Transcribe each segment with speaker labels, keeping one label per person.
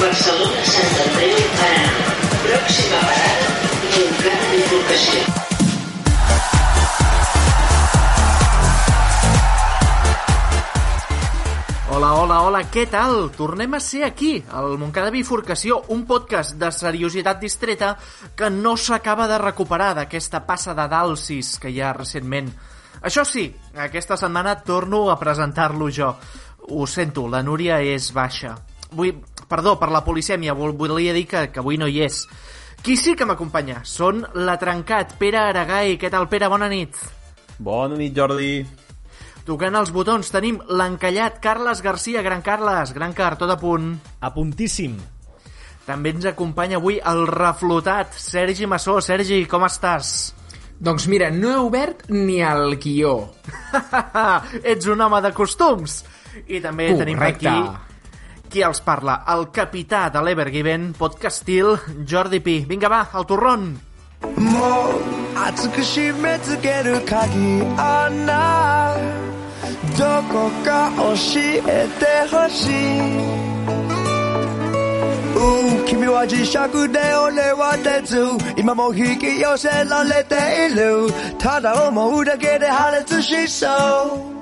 Speaker 1: Barcelona Sant Andreu Paraná. Pròxima parada, Montcada Bifurcació.
Speaker 2: Hola, hola, hola, què tal? Tornem a ser aquí, al Montcada Bifurcació, un podcast de seriositat distreta que no s'acaba de recuperar d'aquesta passa de dalsis que hi ha recentment. Això sí, aquesta setmana torno a presentar-lo jo. Ho sento, la Núria és baixa. Vull... Perdó, per la polisèmia, vol- volia dir que, que avui no hi és. Qui sí que m'acompanya? Són la Trencat, Pere Aragai. Què tal, Pere? Bona nit.
Speaker 3: Bona nit, Jordi.
Speaker 2: Tocant els botons tenim l'encallat Carles Garcia, gran Carles, gran Car, tot a punt.
Speaker 4: A puntíssim.
Speaker 2: També ens acompanya avui el reflotat Sergi Massó. Sergi, com estàs?
Speaker 5: Doncs mira, no he obert ni el guió.
Speaker 2: Ets un home de costums. I també tenim
Speaker 5: Correcte.
Speaker 2: aquí qui els parla, el capità de l'Evergiven, podcastil, Jordi Pi. Vinga, va, al torron!
Speaker 6: もう熱く締め付ける鍵穴どこか教えてほしいうん君は磁石で俺は鉄今も引き寄せられているただ思うだけで破裂しそう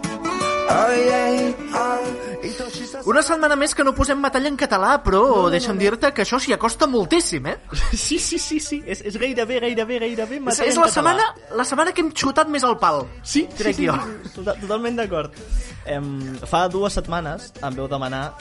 Speaker 6: Oh yeah, oh, 愛しさ
Speaker 2: Una setmana més que no posem metall en català, però no, no, deixa'm dir-te que això s'hi acosta moltíssim, eh?
Speaker 4: Sí, sí, sí, sí. És, és gairebé, gairebé, gairebé...
Speaker 2: És,
Speaker 4: metall
Speaker 2: és
Speaker 4: en
Speaker 2: la,
Speaker 4: català.
Speaker 2: setmana, la setmana que hem xutat més al pal.
Speaker 4: Sí, sí,
Speaker 2: crec
Speaker 4: sí,
Speaker 2: jo.
Speaker 4: sí, tota- totalment d'acord. Em, fa dues setmanes em veu demanar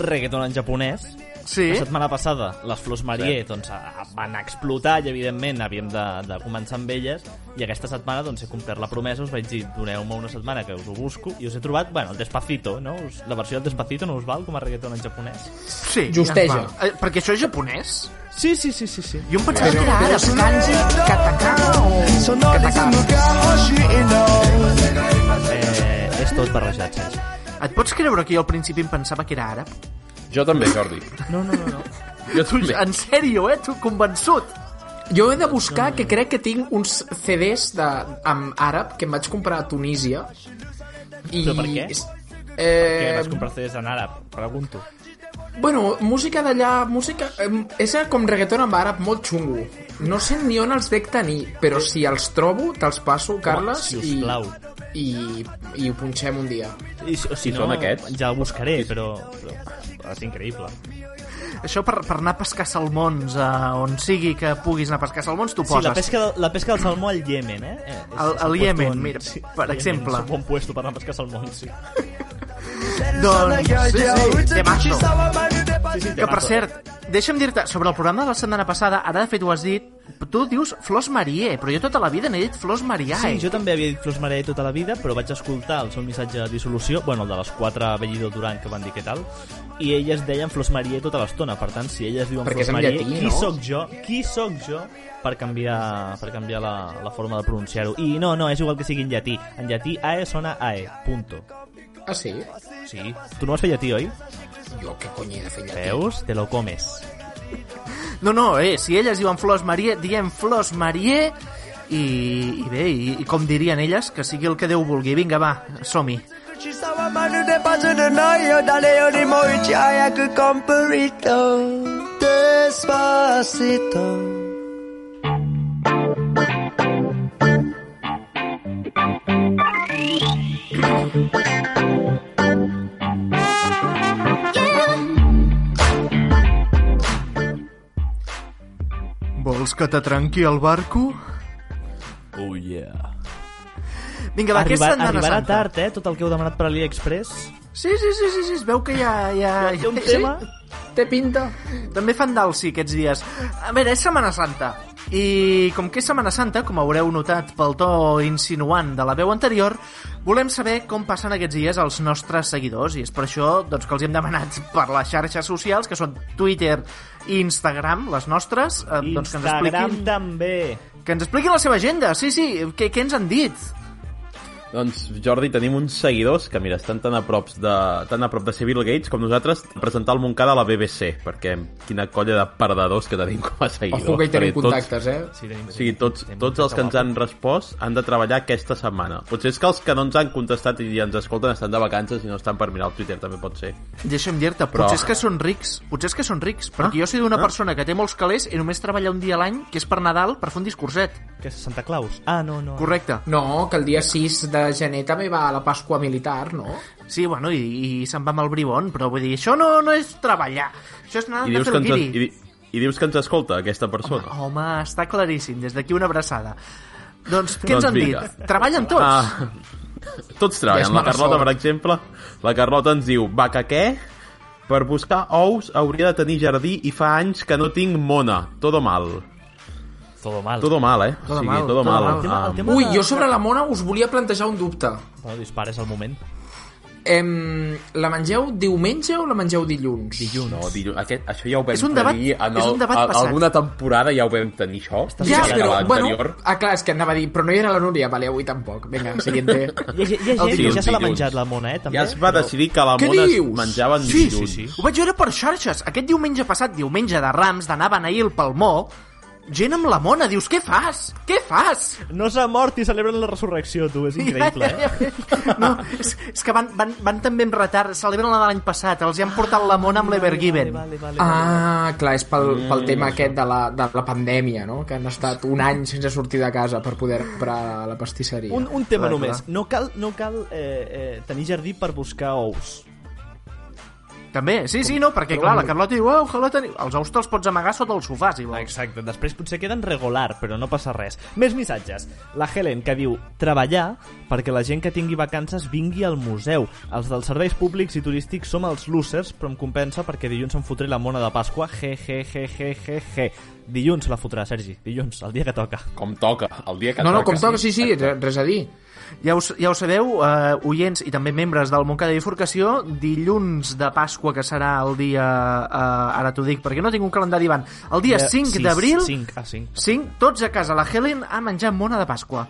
Speaker 4: reggaeton en japonès.
Speaker 2: Sí?
Speaker 4: La setmana passada, les Flors Marier doncs, a- a- van explotar i, evidentment, havíem de, de començar amb elles. I aquesta setmana doncs, he complert la promesa, us vaig dir, doneu-me una setmana que us ho busco. I us he trobat, bueno, el Despacito, no? Us, la versió del Despacito no us val com a reggaeton en japonès?
Speaker 2: Sí.
Speaker 5: Justeja.
Speaker 2: ja es va. Eh, perquè això és japonès?
Speaker 4: Sí, sí, sí, sí, sí.
Speaker 2: Jo em pensava que era àrab.
Speaker 6: そのリズムが欲しいの
Speaker 4: Eh, és tot barrejat, Sergi.
Speaker 2: Et pots creure que jo al principi em pensava que era àrab?
Speaker 3: Jo també, Jordi.
Speaker 4: No, no, no, no.
Speaker 3: Jo també.
Speaker 2: En sèrio, eh? Tu convençut.
Speaker 5: Jo he de buscar que crec que tinc uns CDs de, amb àrab que em vaig comprar a Tunísia. I...
Speaker 4: Però per què? Què
Speaker 5: Eh,
Speaker 4: vas comprar CDs en àrab? Pregunto.
Speaker 5: bueno, música d'allà, música... Eh, és com reggaeton amb àrab molt xungo. No sé ni on els dec tenir, però si els trobo, te'ls passo, Carles,
Speaker 4: si us
Speaker 5: i,
Speaker 4: plau.
Speaker 5: i, i ho punxem un dia.
Speaker 4: I, si- o si no,
Speaker 3: són aquests?
Speaker 4: ja el buscaré, però, però és increïble.
Speaker 2: Això per, per anar a pescar salmons, eh, on sigui que puguis anar a pescar salmons, tu
Speaker 4: Sí,
Speaker 2: poses.
Speaker 4: la pesca, del- la pesca del salmó al Yemen, eh? eh? és-
Speaker 2: Al-
Speaker 4: és
Speaker 2: al
Speaker 4: un
Speaker 2: Yemen,
Speaker 4: puesto
Speaker 2: mira,
Speaker 4: sí,
Speaker 2: per
Speaker 4: al Yemen
Speaker 2: exemple.
Speaker 4: És un bon puesto per anar a pescar salmó, sí.
Speaker 2: Doncs, sí, sí, temazo.
Speaker 6: まるで
Speaker 4: sí, sí
Speaker 2: Que, per cert, deixa'm dir-te, sobre el programa de la setmana passada, ara de fet ho has dit, tu dius Flors Marier, però jo tota la vida n'he dit Flors Mariae.
Speaker 4: Sí, jo també havia dit Flors Maré tota la vida, però vaig escoltar el seu missatge de dissolució, bueno, el de les quatre Bellido Durant que van dir què tal, i elles deien Flors Marier tota l'estona, per tant, si elles diuen
Speaker 5: Perquè és
Speaker 4: Flors
Speaker 5: en
Speaker 4: Marier,
Speaker 5: llatí, no?
Speaker 4: qui sóc jo? Qui sóc jo per canviar, per canviar la, la forma de pronunciar-ho? I no, no, és igual que sigui en llatí. En llatí AE sona AE, punto.
Speaker 5: Ah, sí?
Speaker 4: Sí. Tu no vas fer llatí, oi?
Speaker 5: Jo què cony he de fer llatí?
Speaker 4: Veus? Te lo comes.
Speaker 2: No, no, eh, si elles diuen Flors Marier, diem Flors Marier, i, i bé, i, i com dirien elles, que sigui el que Déu vulgui. Vinga, va, som-hi.
Speaker 6: 口さはまるでパズルのよ誰よりもいち早くコンプリートデスパーシト
Speaker 2: Vols que t'atranqui el barco?
Speaker 3: Oh, yeah.
Speaker 2: Vinga, va,
Speaker 4: Arribar,
Speaker 2: aquesta Setmana
Speaker 4: arribarà
Speaker 2: Santa.
Speaker 4: tard, eh? Tot el que heu demanat per AliExpress.
Speaker 2: Sí, sí, sí, sí, sí, es veu que hi ha... Hi ha,
Speaker 4: Té un tema...
Speaker 5: Té pinta?
Speaker 2: També fan dalsi aquests dies. A veure, és Setmana Santa. I com que és Setmana Santa, com haureu notat pel to insinuant de la veu anterior, volem saber com passen aquests dies els nostres seguidors i és per això doncs, que els hem demanat per les xarxes socials, que són Twitter i Instagram, les nostres, eh, doncs que ens
Speaker 4: Instagram
Speaker 2: expliquin,
Speaker 4: també.
Speaker 2: que ens expliquin la seva agenda. Sí, sí, què, què ens han dit?
Speaker 3: Doncs, Jordi, tenim uns seguidors que, mira, estan tan a prop de, tan a prop de ser Bill Gates com nosaltres a presentar el Montcada a la BBC, perquè quina colla de perdedors que tenim com a seguidors.
Speaker 5: Ojo que hi tenim
Speaker 3: Perquè tots-
Speaker 5: contactes, eh?
Speaker 4: Sí, tenim,
Speaker 3: O sigui, tots,
Speaker 4: tenim
Speaker 3: tots els que ens
Speaker 4: guapo.
Speaker 3: han respost han de treballar aquesta setmana. Potser és que els que no ens han contestat i ens escolten estan de vacances i no estan per mirar el Twitter, també pot ser.
Speaker 2: Deixa'm dir-te,
Speaker 3: Però- Ah,
Speaker 2: potser és que són rics, potser és que són rics, perquè jo soy d'una persona que té molts calés i només treballa un dia a l'any, que és per Nadal, per fer un discurset.
Speaker 4: Que és Santa Claus. Ah, no, no.
Speaker 2: Correcte.
Speaker 5: No, que el dia 6 de gener també va a la Pasqua Militar, no?
Speaker 2: Sí, bueno, i, i se'n va amb el bribon, però vull dir, això no, no és treballar, això és anar
Speaker 3: I
Speaker 2: de
Speaker 3: dius,
Speaker 2: fer
Speaker 3: que
Speaker 2: el
Speaker 3: ens,
Speaker 2: guiri.
Speaker 3: i, di- i dius que ens escolta aquesta persona.
Speaker 2: Home, està claríssim, des d'aquí una abraçada. Doncs què ens
Speaker 3: Doncs
Speaker 2: han
Speaker 3: vinga.
Speaker 2: dit? Treballen tots.
Speaker 3: Ah, tots
Speaker 5: Ja
Speaker 3: treballen.
Speaker 5: és
Speaker 3: La
Speaker 5: mala
Speaker 3: Carlota,
Speaker 5: sort.
Speaker 3: per exemple, la Carlota ens diu, va que què? Per buscar ous hauria de tenir jardí i fa anys que no tinc mona. Todo mal.
Speaker 4: Todo mal.
Speaker 3: Todo mal, eh?
Speaker 2: Todo
Speaker 3: o sigui,
Speaker 2: mal,
Speaker 3: todo
Speaker 2: todo
Speaker 3: mal.
Speaker 2: mal.
Speaker 3: Ah,
Speaker 2: El
Speaker 4: tema- el tema-
Speaker 5: Ui, jo sobre la mona us volia plantejar un dubte.
Speaker 4: No dispares al moment.
Speaker 5: Em, la mengeu diumenge o la mengeu dilluns?
Speaker 4: Dilluns.
Speaker 3: No, dilluns. Aquest, això ja ho vam
Speaker 2: És un debat-
Speaker 3: tenir en
Speaker 2: és
Speaker 3: el,
Speaker 2: un debat
Speaker 3: a,
Speaker 2: passat.
Speaker 3: alguna temporada ja ho vam tenir, això.
Speaker 5: Ja,
Speaker 3: Sí,
Speaker 5: però,
Speaker 3: a l'anterior.
Speaker 5: bueno... Ah, clar, és que anava a dir, però no hi era la Núria. Vale, avui tampoc. Vinga, siguiente.
Speaker 4: Hi ha, hi ha gent que
Speaker 3: dilluns,
Speaker 4: ja se l'ha
Speaker 3: dilluns.
Speaker 4: menjat la mona, eh, també.
Speaker 3: Ja es va
Speaker 4: però-
Speaker 3: decidir que la
Speaker 5: Què
Speaker 3: mona es
Speaker 5: dius?
Speaker 3: menjaven
Speaker 2: Sí,
Speaker 3: dilluns.
Speaker 4: sí, sí.
Speaker 2: Ho vaig veure per xarxes. Aquest diumenge passat, diumenge de Rams, d'anaven ahir al Palmó, gent amb la mona, dius, què fas? Què fas?
Speaker 4: No s'ha mort i celebren la resurrecció, tu. És increïble, eh?
Speaker 2: No, és, és que van, van, van també amb retard, celebren la de l'any passat, els hi han portat la mona amb l'Evergiven.
Speaker 4: Vale, vale, vale.
Speaker 5: Ah, clar, és pel, pel
Speaker 4: Mm,
Speaker 5: tema aquest de la, de la pandèmia, no? Que han estat un any sense sortir de casa per poder comprar a la pastisseria.
Speaker 4: Un, un tema
Speaker 2: Clar,
Speaker 4: només.
Speaker 2: clar.
Speaker 4: No cal, no cal eh, eh, tenir jardí per buscar ous.
Speaker 2: També, sí, sí, no, perquè clar, la Carlota diu, oh, ojalà teniu... Els ous te'ls pots amagar sota el sofà, si vols.
Speaker 4: Exacte, després potser queden regular, però no passa res. Més missatges. La Helen, que diu treballar perquè la gent que tingui vacances vingui al museu. Els dels serveis públics i turístics som els losers, però em compensa perquè dilluns em fotré la mona de Pasqua. Je, je, je, je, je, je. Dilluns la fotrà, Sergi. Dilluns, el dia que toca.
Speaker 3: Com toca, el dia que
Speaker 5: No,
Speaker 3: toca.
Speaker 5: no, com toca, sí, sí, re- res a dir.
Speaker 2: Ja ho, ja ho sabeu, eh, oients i també membres del Montcada Bifurcació, dilluns de Pasqua, que serà el dia... Eh, ara t'ho dic, perquè no tinc un calendari van. El dia 5
Speaker 4: sis,
Speaker 2: d'abril, 5.
Speaker 4: 5, ah, 5.
Speaker 2: tots a casa. La Helen ha menjat mona de Pasqua.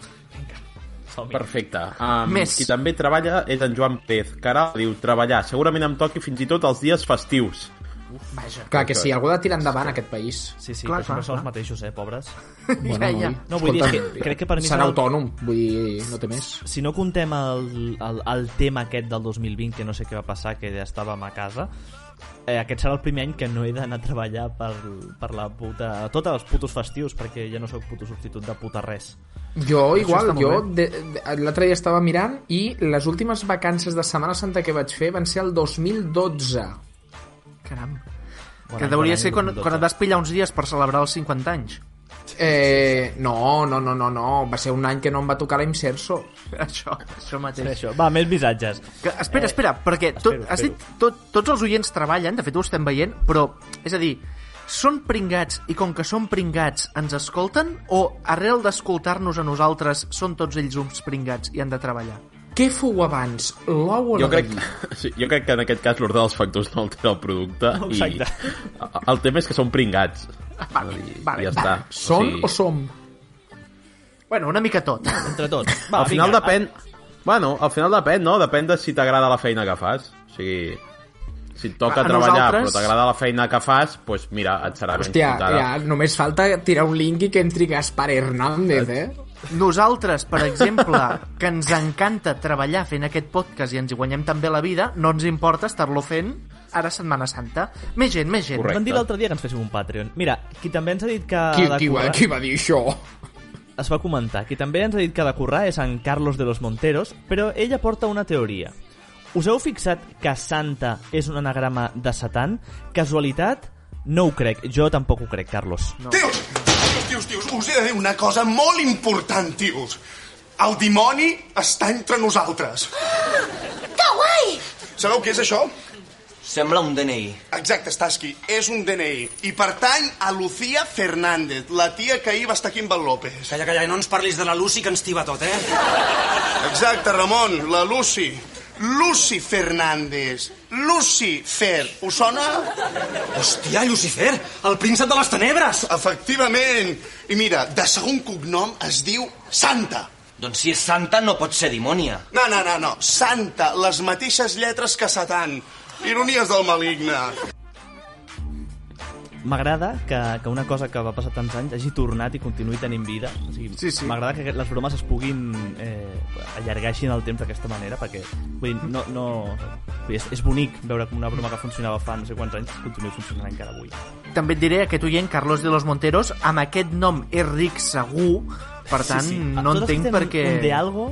Speaker 3: Perfecte. Um,
Speaker 2: Més.
Speaker 3: Qui també treballa és en Joan Pez, que ara diu treballar. Segurament em toqui fins i tot els dies festius.
Speaker 5: Clar, que sí, algú ha de tirar endavant aquest país.
Speaker 4: Sí, sí, clar,
Speaker 2: Clar,
Speaker 4: però
Speaker 2: clar,
Speaker 4: sempre són els
Speaker 2: clar.
Speaker 4: mateixos, eh, pobres.
Speaker 5: Bueno,
Speaker 2: Ja, ja.
Speaker 5: ui,
Speaker 4: No, vull dir,
Speaker 5: escolta,
Speaker 4: és que crec que per mi
Speaker 5: Serà
Speaker 4: serà-
Speaker 5: autònom, vull dir, no té més.
Speaker 4: si no contem el, el, el tema aquest del 2020, que no sé què va passar, que ja estàvem a casa, eh, aquest serà el primer any que no he d'anar a treballar per, per la puta... Tots els putos festius, perquè ja no sóc puto substitut de puta res.
Speaker 5: Jo igual,
Speaker 2: està molt
Speaker 5: jo de- de- l'altre dia estava mirant i les últimes vacances de Setmana Santa que vaig fer van ser el 2012.
Speaker 2: Caram.
Speaker 4: Bon
Speaker 2: que
Speaker 4: any, bon
Speaker 2: deuria
Speaker 4: any,
Speaker 2: ser quan,
Speaker 4: 2012.
Speaker 2: quan et vas pillar uns dies per celebrar els 50 anys.
Speaker 5: Eh, no, no, no, no, no, va ser un any que no em va tocar la Imserso.
Speaker 2: Això, això mateix.
Speaker 4: Això. Va, més missatges. Eh,
Speaker 2: Que, espera, espera, perquè tot,
Speaker 4: espero,
Speaker 2: has
Speaker 4: espero.
Speaker 2: dit, tot, tots els oients treballen, de fet ho estem veient, però, és a dir, són pringats i com que són pringats ens escolten o arrel d'escoltar-nos a nosaltres són tots ells uns pringats i han de treballar?
Speaker 5: Què fou abans, l'ou o
Speaker 3: Jo
Speaker 5: la
Speaker 3: crec,
Speaker 5: gallina?
Speaker 3: sí, jo crec que en aquest cas l'ordre dels factors no altera el producte.
Speaker 4: Exacte.
Speaker 3: I el tema és que són pringats.
Speaker 2: Vale,
Speaker 3: I
Speaker 2: vale,
Speaker 3: ja
Speaker 2: vale.
Speaker 3: està.
Speaker 5: Són o
Speaker 3: sigui,
Speaker 5: som?
Speaker 2: Bueno, una mica tot.
Speaker 4: Entre tots. Va,
Speaker 3: Al final
Speaker 4: vinga,
Speaker 3: depèn... Bueno, al final depèn, no? Depèn de si t'agrada la feina que fas. O sigui, si et toca
Speaker 2: A
Speaker 3: treballar
Speaker 2: nosaltres-
Speaker 3: però t'agrada la feina que fas, doncs pues mira, et serà ben
Speaker 5: Hòstia,
Speaker 3: contada.
Speaker 5: ja, només falta tirar un link i que entri Gaspar Hernández, eh?
Speaker 2: Nosaltres, per exemple, que ens encanta treballar fent aquest podcast i ens hi guanyem també la vida, no ens importa estar-lo fent ara Setmana Santa. Més gent, més gent.
Speaker 3: Correcte.
Speaker 4: Van dir l'altre dia que ens féssim un Patreon. Mira, qui també ens ha dit que...
Speaker 5: Qui,
Speaker 4: ha de
Speaker 5: qui, va,
Speaker 4: currar-
Speaker 5: qui va dir això?
Speaker 4: es va comentar. Qui també ens ha dit que ha de currar és en Carlos de los Monteros, però ella porta una teoria. Us heu fixat que Santa és un anagrama de Satan? Casualitat? No ho crec. Jo tampoc ho crec, Carlos. No.
Speaker 7: Tios, tios, tios, tios, us he de dir una cosa molt important, tios. El dimoni està entre nosaltres.
Speaker 8: Que guai!
Speaker 7: Sabeu què és això?
Speaker 9: Sembla un DNI.
Speaker 7: Exacte, Staski, és un DNI. I pertany a Lucía Fernández, la tia que ahir va estar aquí amb el López.
Speaker 9: Calla, calla, no ens parlis de la Lucy que ens tiba tot, eh?
Speaker 7: Exacte, Ramon, la Lucy. Lucy Fernández. Lucy Fer. Us sona?
Speaker 9: Hòstia, Lucifer, el príncep de les tenebres!
Speaker 7: Efectivament. I mira, de segon cognom es diu Santa.
Speaker 9: Doncs si és santa no pot ser dimònia.
Speaker 7: No, no, no, no. Santa, les mateixes lletres que Satan. Ironies del maligne.
Speaker 4: M'agrada que, que una cosa que va passar tants anys hagi tornat i continuï tenint vida. O sigui,
Speaker 2: Sí, sí.
Speaker 4: M'agrada que les bromes es puguin eh, allargar així en el temps d'aquesta manera, perquè vull dir, no, no, vull dir, és, és bonic veure com una broma que funcionava fa no sé quants anys continua funcionant encara avui.
Speaker 2: També et diré aquest oient, Carlos de los Monteros, amb aquest nom és ric segur, per tant, no
Speaker 4: Todos
Speaker 2: entenc
Speaker 4: tienen
Speaker 2: per què...
Speaker 4: Un de algo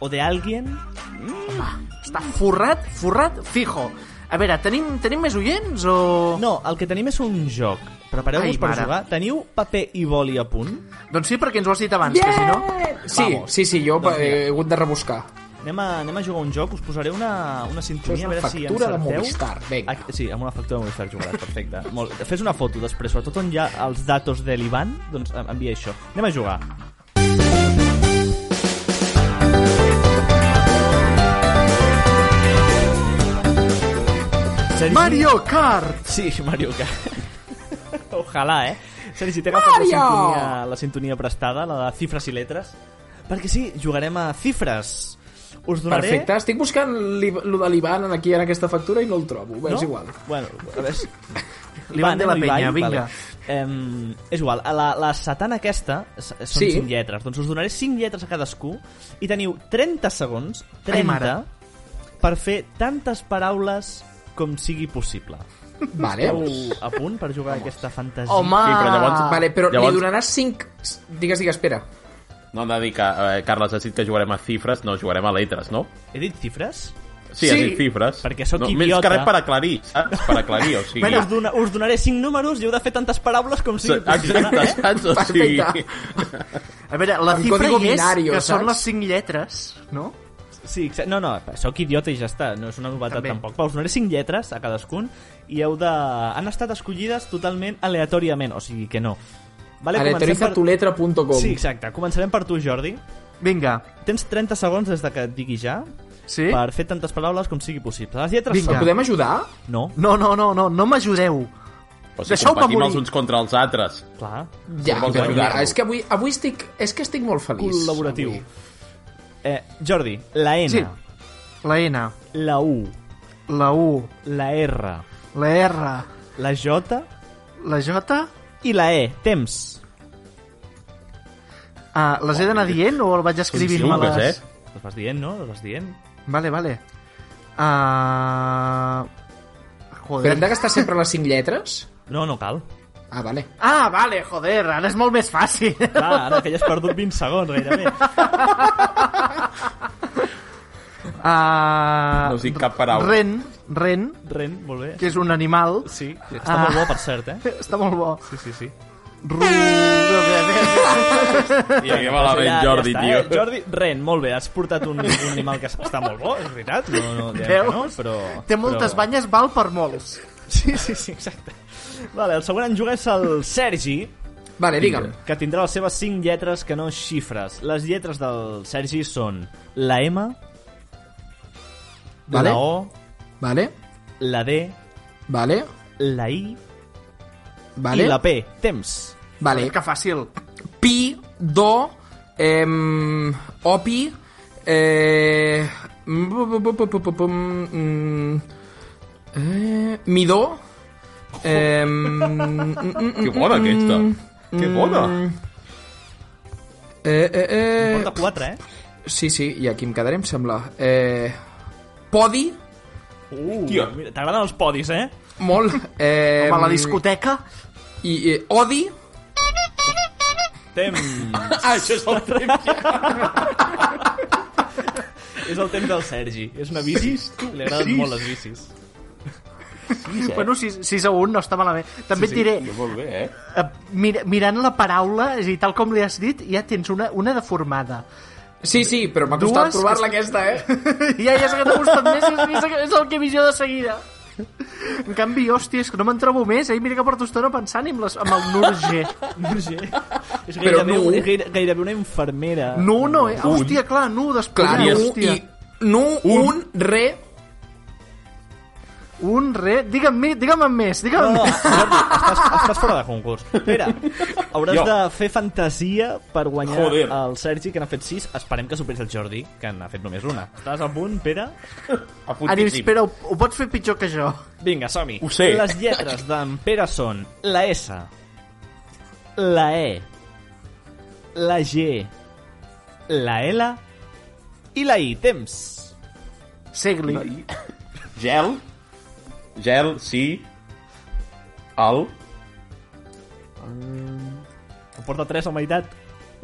Speaker 4: o de alguien
Speaker 2: Està forrat, forrat, fijo. A veure, tenim, tenim més oients o...?
Speaker 4: No, el que tenim és un joc.
Speaker 2: Ai,
Speaker 4: Prepareu-vos per
Speaker 2: mare.
Speaker 4: jugar. Teniu paper i boli a punt?
Speaker 2: Doncs sí, perquè ens ho has dit abans, que si no...
Speaker 5: Sí,
Speaker 4: Vamos.
Speaker 5: sí, sí, jo
Speaker 4: Doncs
Speaker 5: eh,
Speaker 4: mira.
Speaker 5: he hagut de rebuscar.
Speaker 4: Anem a, anem a jugar un joc, us posaré una, una
Speaker 5: Això és
Speaker 4: sintonia,
Speaker 5: una
Speaker 4: a veure si
Speaker 5: factura de
Speaker 4: encerteu.
Speaker 5: Movistar, vinga.
Speaker 4: Ah, sí, amb una factura de Movistar jugaràs, perfecte. Molt. Fes una foto després, sobretot on hi ha els datos de l'Ivan, doncs em- envia això. Anem a jugar. Sergi...
Speaker 2: Mario Kart!
Speaker 4: Sí, Mario Kart. Ojalà, eh? Sergi, t'he agafat la
Speaker 5: Mario!
Speaker 4: sintonia, la sintonia prestada, la de xifres i letres, perquè sí, jugarem a xifres. Us donaré...
Speaker 5: Perfecte, estic buscant l'I- lo de l'Ivan en aquí en aquesta factura i no el trobo, bé, és igual.
Speaker 4: Bueno, a veure... si-
Speaker 2: L'Ivan de la
Speaker 4: no,
Speaker 2: penya,
Speaker 4: Ivan,
Speaker 2: vinga.
Speaker 4: Vale. Em, és igual, a la, la satana aquesta s- són
Speaker 5: Sí.
Speaker 4: 5 lletres, doncs us donaré 5 lletres a cadascú i teniu 30 segons,
Speaker 2: Ai,
Speaker 4: 30,
Speaker 2: mare.
Speaker 4: per fer tantes paraules com sigui possible.
Speaker 5: Vale.
Speaker 4: Esteu a punt per jugar a aquesta fantasia?
Speaker 5: Home!
Speaker 3: Sí, però
Speaker 4: Ah.
Speaker 3: llavors-
Speaker 5: Vale, però
Speaker 3: llavors-
Speaker 5: li donaràs 5... Digues, digues, espera.
Speaker 3: No hem de dir que, eh, Carles, has dit que jugarem a xifres, no, jugarem a letres, no?
Speaker 4: He dit xifres?
Speaker 3: Sí,
Speaker 2: Sí.
Speaker 3: has dit xifres.
Speaker 4: Perquè sóc
Speaker 3: no,
Speaker 4: idiota.
Speaker 3: Més que res per aclarir, saps? Per aclarir, o sigui...
Speaker 4: Bueno, us, dona, us donaré 5 números i heu de fer tantes paraules com sigui possible. eh?
Speaker 3: Exacte, saps? O sigui...
Speaker 5: Perfecte.
Speaker 2: A veure, la
Speaker 5: Amb
Speaker 2: xifra hi
Speaker 5: código
Speaker 2: és,
Speaker 5: binario,
Speaker 2: que
Speaker 5: saps?
Speaker 2: són les 5 lletres, no?
Speaker 4: Sí, exacte. No, no, sóc idiota i ja està. No és una novetat
Speaker 2: També.
Speaker 4: També. tampoc. Però us donaré 5 lletres a cadascun i heu de... Han estat escollides totalment aleatòriament, o sigui que no. Vale, comencem
Speaker 5: Aleatorizatuletra.com
Speaker 4: Sí, exacte. Començarem per tu, Jordi.
Speaker 2: Vinga,
Speaker 4: Tens 30 segons des de que et digui ja
Speaker 2: sí?
Speaker 4: per fer tantes paraules com sigui possible. Les lletres
Speaker 2: Vinga.
Speaker 5: El podem ajudar?
Speaker 4: són... No,
Speaker 2: No, no, no, no, no m'ajudeu.
Speaker 3: O sigui,
Speaker 2: Deixeu-me
Speaker 3: competim els
Speaker 2: morir.
Speaker 3: uns contra els altres.
Speaker 4: clar.
Speaker 5: Ja,
Speaker 3: vols
Speaker 5: però mira,
Speaker 3: ajudar-lo.
Speaker 5: és que avui, avui estic, és que estic molt feliç.
Speaker 4: Col·laboratiu.
Speaker 5: avui.
Speaker 4: Eh, Jordi, la N,
Speaker 2: Sí. La N,
Speaker 4: la U,
Speaker 2: la U,
Speaker 4: la R,
Speaker 2: la R,
Speaker 4: la J
Speaker 2: la J...
Speaker 4: i la E. Temps.
Speaker 2: Ah, les he d'anar dient o el vaig escrivint-me
Speaker 3: Són
Speaker 2: les...
Speaker 3: cinc,
Speaker 4: Les vas eh? dient, no? Les vas dient.
Speaker 2: Vale, vale. Ah...
Speaker 5: Però hem
Speaker 2: Joder.
Speaker 5: de gastar sempre les 5 lletres?
Speaker 4: No, no cal.
Speaker 5: Ah, vale.
Speaker 2: Ah, vale, joder, ara és molt més fàcil.
Speaker 4: Clar, ara que ja has perdut 20 segons, gairebé.
Speaker 2: Ah,
Speaker 3: No us dic cap paraula.
Speaker 2: Ren, ren,
Speaker 4: Ren, molt bé.
Speaker 2: que és un animal.
Speaker 4: Sí, està
Speaker 2: Ah.
Speaker 4: molt bo, per cert, eh?
Speaker 2: Està molt bo.
Speaker 4: Sí, sí, sí.
Speaker 2: Ru...
Speaker 3: I aquí va la ben Jordi,
Speaker 4: ja
Speaker 3: tio.
Speaker 4: està, eh? Jordi, Ren, molt bé, has portat un, un animal que està molt bo, és veritat. No, no, diem que no,
Speaker 2: Veus?
Speaker 4: però...
Speaker 2: Té moltes
Speaker 4: però...
Speaker 2: banyes, val per molts.
Speaker 4: Sí, sí, sí, exacte. Vale, el següent en jugar és el Sergi,
Speaker 5: Vale, digue'm.
Speaker 4: que tindrà les seves 5 lletres que no xifres. Les lletres del Sergi són la M,
Speaker 5: Vale,
Speaker 4: la O,
Speaker 5: vale,
Speaker 4: la D,
Speaker 5: vale,
Speaker 4: la I
Speaker 5: vale.
Speaker 4: i la P. Temps.
Speaker 5: Vale.
Speaker 2: Que fàcil.
Speaker 5: Pi, do, ehm, opi, eh, bu- bu- bu- bu- bu- bu- bum, mm, eh, midó, ehm, mm, mm,
Speaker 3: Que bona, aquesta. Que bona.
Speaker 5: eh, eh, eh,
Speaker 4: Porta 4, eh?
Speaker 5: sí, sí, i aquí em quedaré, em sembla. Eh, podi,
Speaker 4: Uh,
Speaker 3: Hòstia.
Speaker 4: mira, T'agraden els podis, eh?
Speaker 5: molt, eh,
Speaker 2: Home, a la discoteca...
Speaker 5: i, eh, odi,
Speaker 3: Mm.
Speaker 4: Temps.
Speaker 5: ah, això és el
Speaker 4: És el temps del Sergi. És una bici. Li agraden molt les bicis. eh?
Speaker 2: Bueno, 6, 6 a 1 no està malament. També et diré,
Speaker 3: Molt bé, eh?
Speaker 2: eh, mira, mirant la paraula, és a dir, tal com li has dit, ja tens una, una deformada.
Speaker 5: Sí, sí, però m'ha costat
Speaker 2: Dues-
Speaker 5: trobar-la aquesta, eh?
Speaker 2: ja, ja sé que t'ha gustat més, és, és, és el que he vist jo de seguida. En canvi, hòstia, és que no me'n trobo més, eh? Mira que porto estona pensant amb, les, amb el Nurger.
Speaker 4: Roger.
Speaker 5: Però
Speaker 4: És gairebé,
Speaker 5: nu.
Speaker 4: un- és gaire- gairebé una infermera.
Speaker 2: eh? No, no, eh? Hòstia, clar, nu, després.
Speaker 5: Clar,
Speaker 2: eh?
Speaker 5: nu,
Speaker 2: hòstia.
Speaker 5: i, nu, un, re,
Speaker 2: Un re... Digue'm, mi- digue'm en més, digue'm
Speaker 4: No, no,
Speaker 2: en més.
Speaker 4: Jordi, estàs, estàs fora de concurs. Pere, hauràs
Speaker 3: Jo.
Speaker 4: de fer fantasia per guanyar
Speaker 3: Joder.
Speaker 4: el Sergi, que n'ha fet 6. Esperem que superis el Jordi, que n'ha fet només una. Estàs al punt, Pere?
Speaker 3: A
Speaker 2: Anim,
Speaker 3: puntíssim.
Speaker 2: espera, Ah, ho, ho pots fer pitjor que jo.
Speaker 4: Vinga, som-hi.
Speaker 3: Ho sé.
Speaker 4: Les lletres d'en Pere són la S, la E, la G, la L i la I. Temps.
Speaker 2: Segli.
Speaker 3: Gel. Gel, sí. Al.
Speaker 4: Em porta 3 a meitat.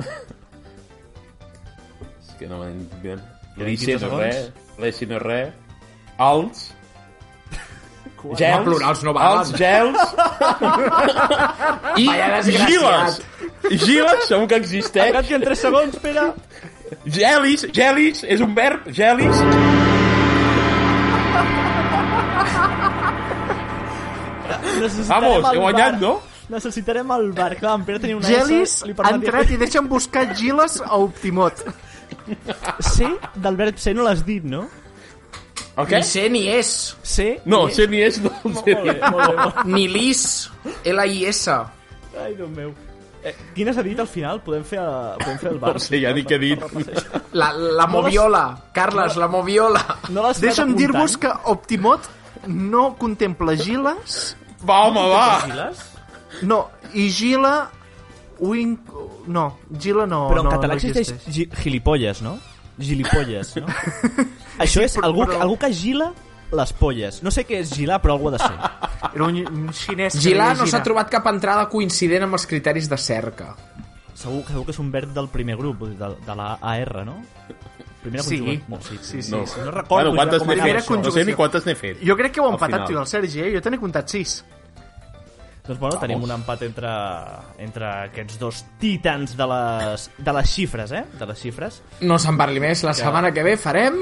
Speaker 3: És que no m'entenc.
Speaker 4: Quinze
Speaker 3: L'IC no és
Speaker 4: segons.
Speaker 3: res. L'IC no és res. Als.
Speaker 5: Home, plurals no valen.
Speaker 3: Els gels.
Speaker 5: I Vaya
Speaker 3: Giles. Giles, segur que existeix.
Speaker 4: Gat que en 3 segons, Pere.
Speaker 3: Gelis, gelis, és un verb, gelis.
Speaker 4: Necessitarem
Speaker 3: Vamos,
Speaker 4: el
Speaker 3: he guanyat,
Speaker 4: bar.
Speaker 3: no?
Speaker 4: Necessitarem
Speaker 2: Eh,
Speaker 4: el bar. Clar, en Pere tenia una
Speaker 2: Gelis
Speaker 4: S, li
Speaker 2: ha
Speaker 4: permetia...
Speaker 2: entrat i deixa'm buscar Giles a Optimot.
Speaker 4: C del verb ser no l'has dit, no?
Speaker 3: El
Speaker 5: Ni
Speaker 3: què?
Speaker 5: sé ni és.
Speaker 4: C...
Speaker 3: No, ser ni és, no el ser ni és.
Speaker 4: Molt bé, molt
Speaker 5: Ni lis. L-I-S.
Speaker 4: bé. Ai, Déu meu. Eh, quines ha dit al final? Podem fer, eh, podem fer el bar.
Speaker 3: No sé ja ni què he dit.
Speaker 5: La, la moviola. Carles, la moviola.
Speaker 4: No l'has anat
Speaker 2: Deixa'm
Speaker 4: apuntant?
Speaker 2: dir-vos que Optimot no contempla Giles,
Speaker 3: Va, home, va.
Speaker 4: Giles?
Speaker 2: no, i Gila... Win... No, Gila no,
Speaker 4: Però en
Speaker 2: no,
Speaker 4: català
Speaker 2: no
Speaker 4: existeix
Speaker 2: existeix.
Speaker 4: gi gilipolles, no? Gilipolles, no? Això és
Speaker 2: però-
Speaker 4: algú,
Speaker 2: però-
Speaker 4: algú que gila les polles. No sé què és gilar, però algú ha de ser.
Speaker 2: Era un, un xinès que
Speaker 5: Gilà
Speaker 2: deia
Speaker 5: no s'ha
Speaker 2: Gina.
Speaker 5: trobat cap entrada coincident amb els criteris de cerca.
Speaker 4: Segur, segur que és un verb del primer grup, vull dir, de, de la AR, no? Primera
Speaker 2: Sí.
Speaker 4: conjugació. No, sí, sí.
Speaker 2: Sí, sí.
Speaker 3: No,
Speaker 4: no
Speaker 3: bueno,
Speaker 4: recordo ja
Speaker 3: quantes
Speaker 4: com
Speaker 3: n'he
Speaker 4: acaba
Speaker 3: fet?
Speaker 2: això.
Speaker 3: No sé ni quantes n'he fet.
Speaker 2: Jo crec que ho ha
Speaker 3: Al
Speaker 2: empatat
Speaker 3: final.
Speaker 2: tu, el Sergi, eh? Jo te n'he comptat sis.
Speaker 4: Doncs bueno, tenim un empat entre, entre aquests dos titans de les, de les xifres, eh? De les xifres.
Speaker 5: No se'n parli més. La setmana que ve farem...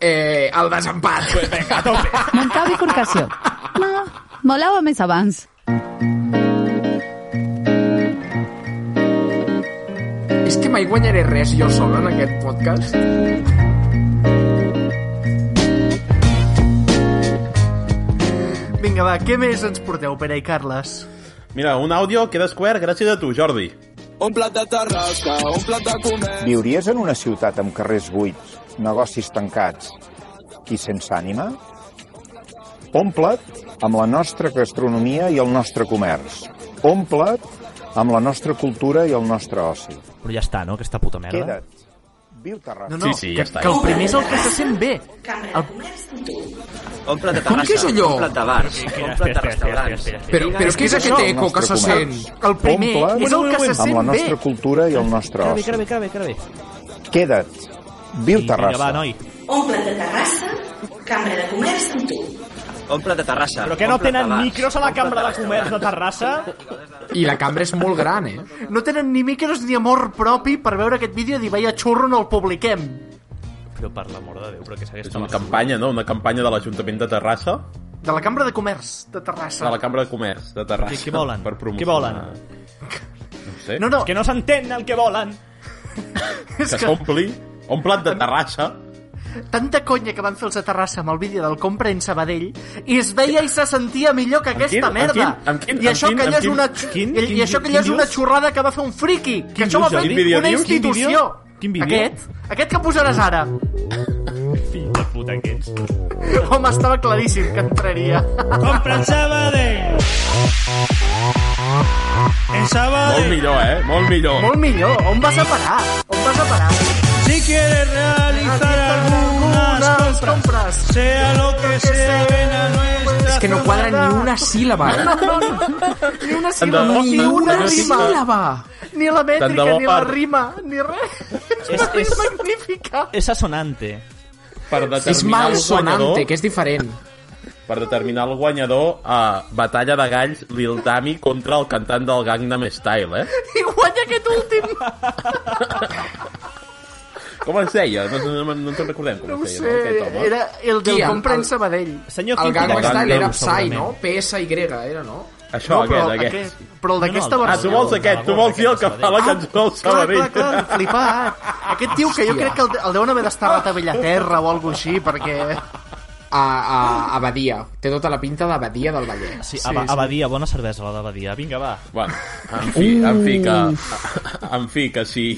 Speaker 5: Eh, el desempat. Vinga, a tope.
Speaker 10: Muntar bifurcació. No, molava més abans.
Speaker 5: És que mai guanyaré res jo sol en aquest podcast.
Speaker 2: Vinga, va, què més ens porteu, Pere i Carles?
Speaker 3: Mira, un àudio que he descobert gràcies a tu, Jordi.
Speaker 6: Un plat de terrassa, un plat de comer...
Speaker 11: Viuries en una ciutat amb carrers buits, negocis tancats i sense ànima? Omple't amb la nostra gastronomia i el nostre comerç. Omple't amb la nostra cultura i el nostre oci.
Speaker 4: Però ja està, no? Aquesta puta merda.
Speaker 11: Queda't. Viu Terrassa.
Speaker 2: No,
Speaker 11: No,
Speaker 2: no,
Speaker 3: Sí, sí, ja
Speaker 2: que,
Speaker 3: està.
Speaker 2: que el primer és el que se sent bé.
Speaker 9: Un plat de terrassa,
Speaker 5: Com que és allò?
Speaker 9: un plat de bars, un plat de restaurants.
Speaker 5: Però, però és que és aquest eco que se sent.
Speaker 2: El primer és el que se
Speaker 11: Amb la
Speaker 2: sent bé.
Speaker 11: nostra cultura i el nostre
Speaker 4: Cara bé,
Speaker 11: oci.
Speaker 4: cara bé, cara bé, cara bé.
Speaker 11: Queda't. Viu
Speaker 4: Vinga, va,
Speaker 11: Terrassa.
Speaker 4: noi.
Speaker 1: Un plat de terrassa, cambra de comerç amb tu.
Speaker 9: Un plat de terrassa.
Speaker 4: Però que
Speaker 9: un
Speaker 4: no
Speaker 9: plat de
Speaker 4: tenen
Speaker 9: bars,
Speaker 4: micros a la
Speaker 9: un plat
Speaker 4: cambra de comerç
Speaker 9: restaurants.
Speaker 4: de Terrassa?
Speaker 5: I la cambra és molt gran, eh?
Speaker 2: No tenen ni micros ni amor propi per veure aquest vídeo i dir, veia xurro, no el publiquem.
Speaker 4: Però per l'amor de Déu, però que segueix
Speaker 3: És una campanya, no? Una campanya de l'Ajuntament de Terrassa,
Speaker 2: De la Cambra de Comerç de Terrassa.
Speaker 3: de la Cambra de Comerç de Terrassa.
Speaker 4: Què- què volen?
Speaker 3: Per promocionar...
Speaker 4: Què volen?
Speaker 3: No ho sé.
Speaker 2: No, no,
Speaker 4: Que no s'entén el que volen.
Speaker 2: és
Speaker 3: que
Speaker 2: que
Speaker 3: s'ompli un plat de Terrassa.
Speaker 2: tanta conya que van fer els de Terrassa amb el vídeo del compra en Sabadell i es veia i se sentia millor que
Speaker 3: quin?
Speaker 2: aquesta
Speaker 3: En
Speaker 2: merda.
Speaker 3: quin? En quin?
Speaker 2: I això
Speaker 3: En
Speaker 2: que
Speaker 3: quin?
Speaker 2: allò
Speaker 3: En
Speaker 2: és una,
Speaker 3: quin?
Speaker 2: xu-
Speaker 4: Quin?
Speaker 2: i, i
Speaker 4: Quin-
Speaker 2: això que allò és
Speaker 4: quin
Speaker 2: una
Speaker 4: dius?
Speaker 2: xurrada que va fer un friki. Que això va
Speaker 4: dius,
Speaker 2: fer
Speaker 3: Jordi? Quin vídeo
Speaker 2: una
Speaker 3: dius?
Speaker 4: Quin vídeo?
Speaker 2: institució.
Speaker 4: Quin vídeo?
Speaker 2: Aquest, aquest que posaràs ara.
Speaker 4: Fill de puta que ets.
Speaker 2: Home, estava claríssim que entraria.
Speaker 4: Compra'n Sabadell! En
Speaker 3: Molt
Speaker 4: Sabadell!
Speaker 3: millor, eh? Molt millor.
Speaker 2: Molt millor. On vas a parar? On vas a parar?
Speaker 4: Si quieres realizar
Speaker 2: Algunes compres.
Speaker 4: sea lo que sea, ven a nuestra...
Speaker 5: És que no quadra ni una síl·laba, eh?
Speaker 2: Ni una
Speaker 3: Tant de
Speaker 2: síl·laba,
Speaker 3: bo-
Speaker 2: ni
Speaker 5: Ni una
Speaker 2: una rima.
Speaker 5: síl·laba.
Speaker 2: Ni la
Speaker 3: Tant de
Speaker 2: mètrica,
Speaker 3: bo
Speaker 2: ni la
Speaker 3: per-
Speaker 2: rima, ni res. És
Speaker 4: És-
Speaker 2: una
Speaker 4: és-
Speaker 2: és magnífica.
Speaker 4: És assonante.
Speaker 3: Per
Speaker 5: És
Speaker 3: determinar el guanyador,
Speaker 5: malsonante, que és diferent.
Speaker 3: per determinar el guanyador a Batalla de Galls Lil Dami contra el cantant del Gangnam Style, eh?
Speaker 2: I guanya aquest últim.
Speaker 3: Com es deia? No, no, no, no te'n recordem com
Speaker 2: No ho
Speaker 3: es deia,
Speaker 2: sé,
Speaker 3: no, aquest home.
Speaker 2: Eh, era el del
Speaker 5: Qui, el-
Speaker 2: compra en
Speaker 5: el-
Speaker 2: Sabadell.
Speaker 4: Senyor
Speaker 5: El
Speaker 4: Quintina
Speaker 5: Gangnam Style era
Speaker 3: Gangnam,
Speaker 5: Psy, no? PSY era, no?
Speaker 3: Això,
Speaker 2: però
Speaker 3: aquest, aquest.
Speaker 2: Però el d'aquesta
Speaker 4: No, no, el-
Speaker 3: Ah, tu vols aquest, tu vols dir el que fa la cançó al
Speaker 2: Ah, Clar,
Speaker 3: Sabadell.
Speaker 2: clar, clar, flipat. Aquest tio que jo
Speaker 5: Hòstia.
Speaker 2: crec que el, el deuen haver d'estar a la Tabellaterra o alguna així, perquè...
Speaker 5: a, a, a Badia. Té tota la pinta d'abadia del Vallès.
Speaker 4: Sí, Aba- Abadia, bona cervesa la d'Abadia. Vinga, va.
Speaker 3: Bueno, en fi, en fi, que, en fi, que sí,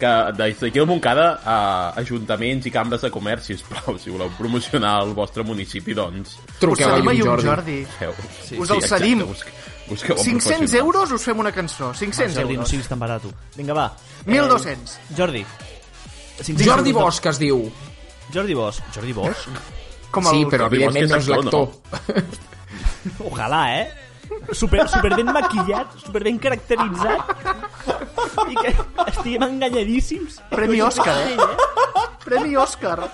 Speaker 3: que des d'aquí al Montcada a ajuntaments i cambres de comerç, sisplau, si voleu promocionar el vostre municipi, doncs...
Speaker 2: Truqueu Us cedim a Llum Jordi. Jordi.
Speaker 3: Busqueu.
Speaker 2: Sí, Us el
Speaker 3: exacte,
Speaker 2: cedim.
Speaker 3: busque- Busqueu el
Speaker 2: 500
Speaker 3: professional.
Speaker 2: euros us fem una cançó. 500
Speaker 4: Jordi, no
Speaker 2: euros.
Speaker 4: siguis tan barat. Vinga, va.
Speaker 2: 1.200.
Speaker 4: Eh, Jordi.
Speaker 5: Jordi Bosch es diu.
Speaker 4: Jordi Bosch. Jordi Bosch?
Speaker 5: Com el- Sí, però Jordi Bosch evidentment és no és actor,
Speaker 4: Ojalà, eh? Super, super ben maquillat, super ben caracteritzat i que estiguem enganyadíssims.
Speaker 2: Premi Òscar, eh? Premi Òscar.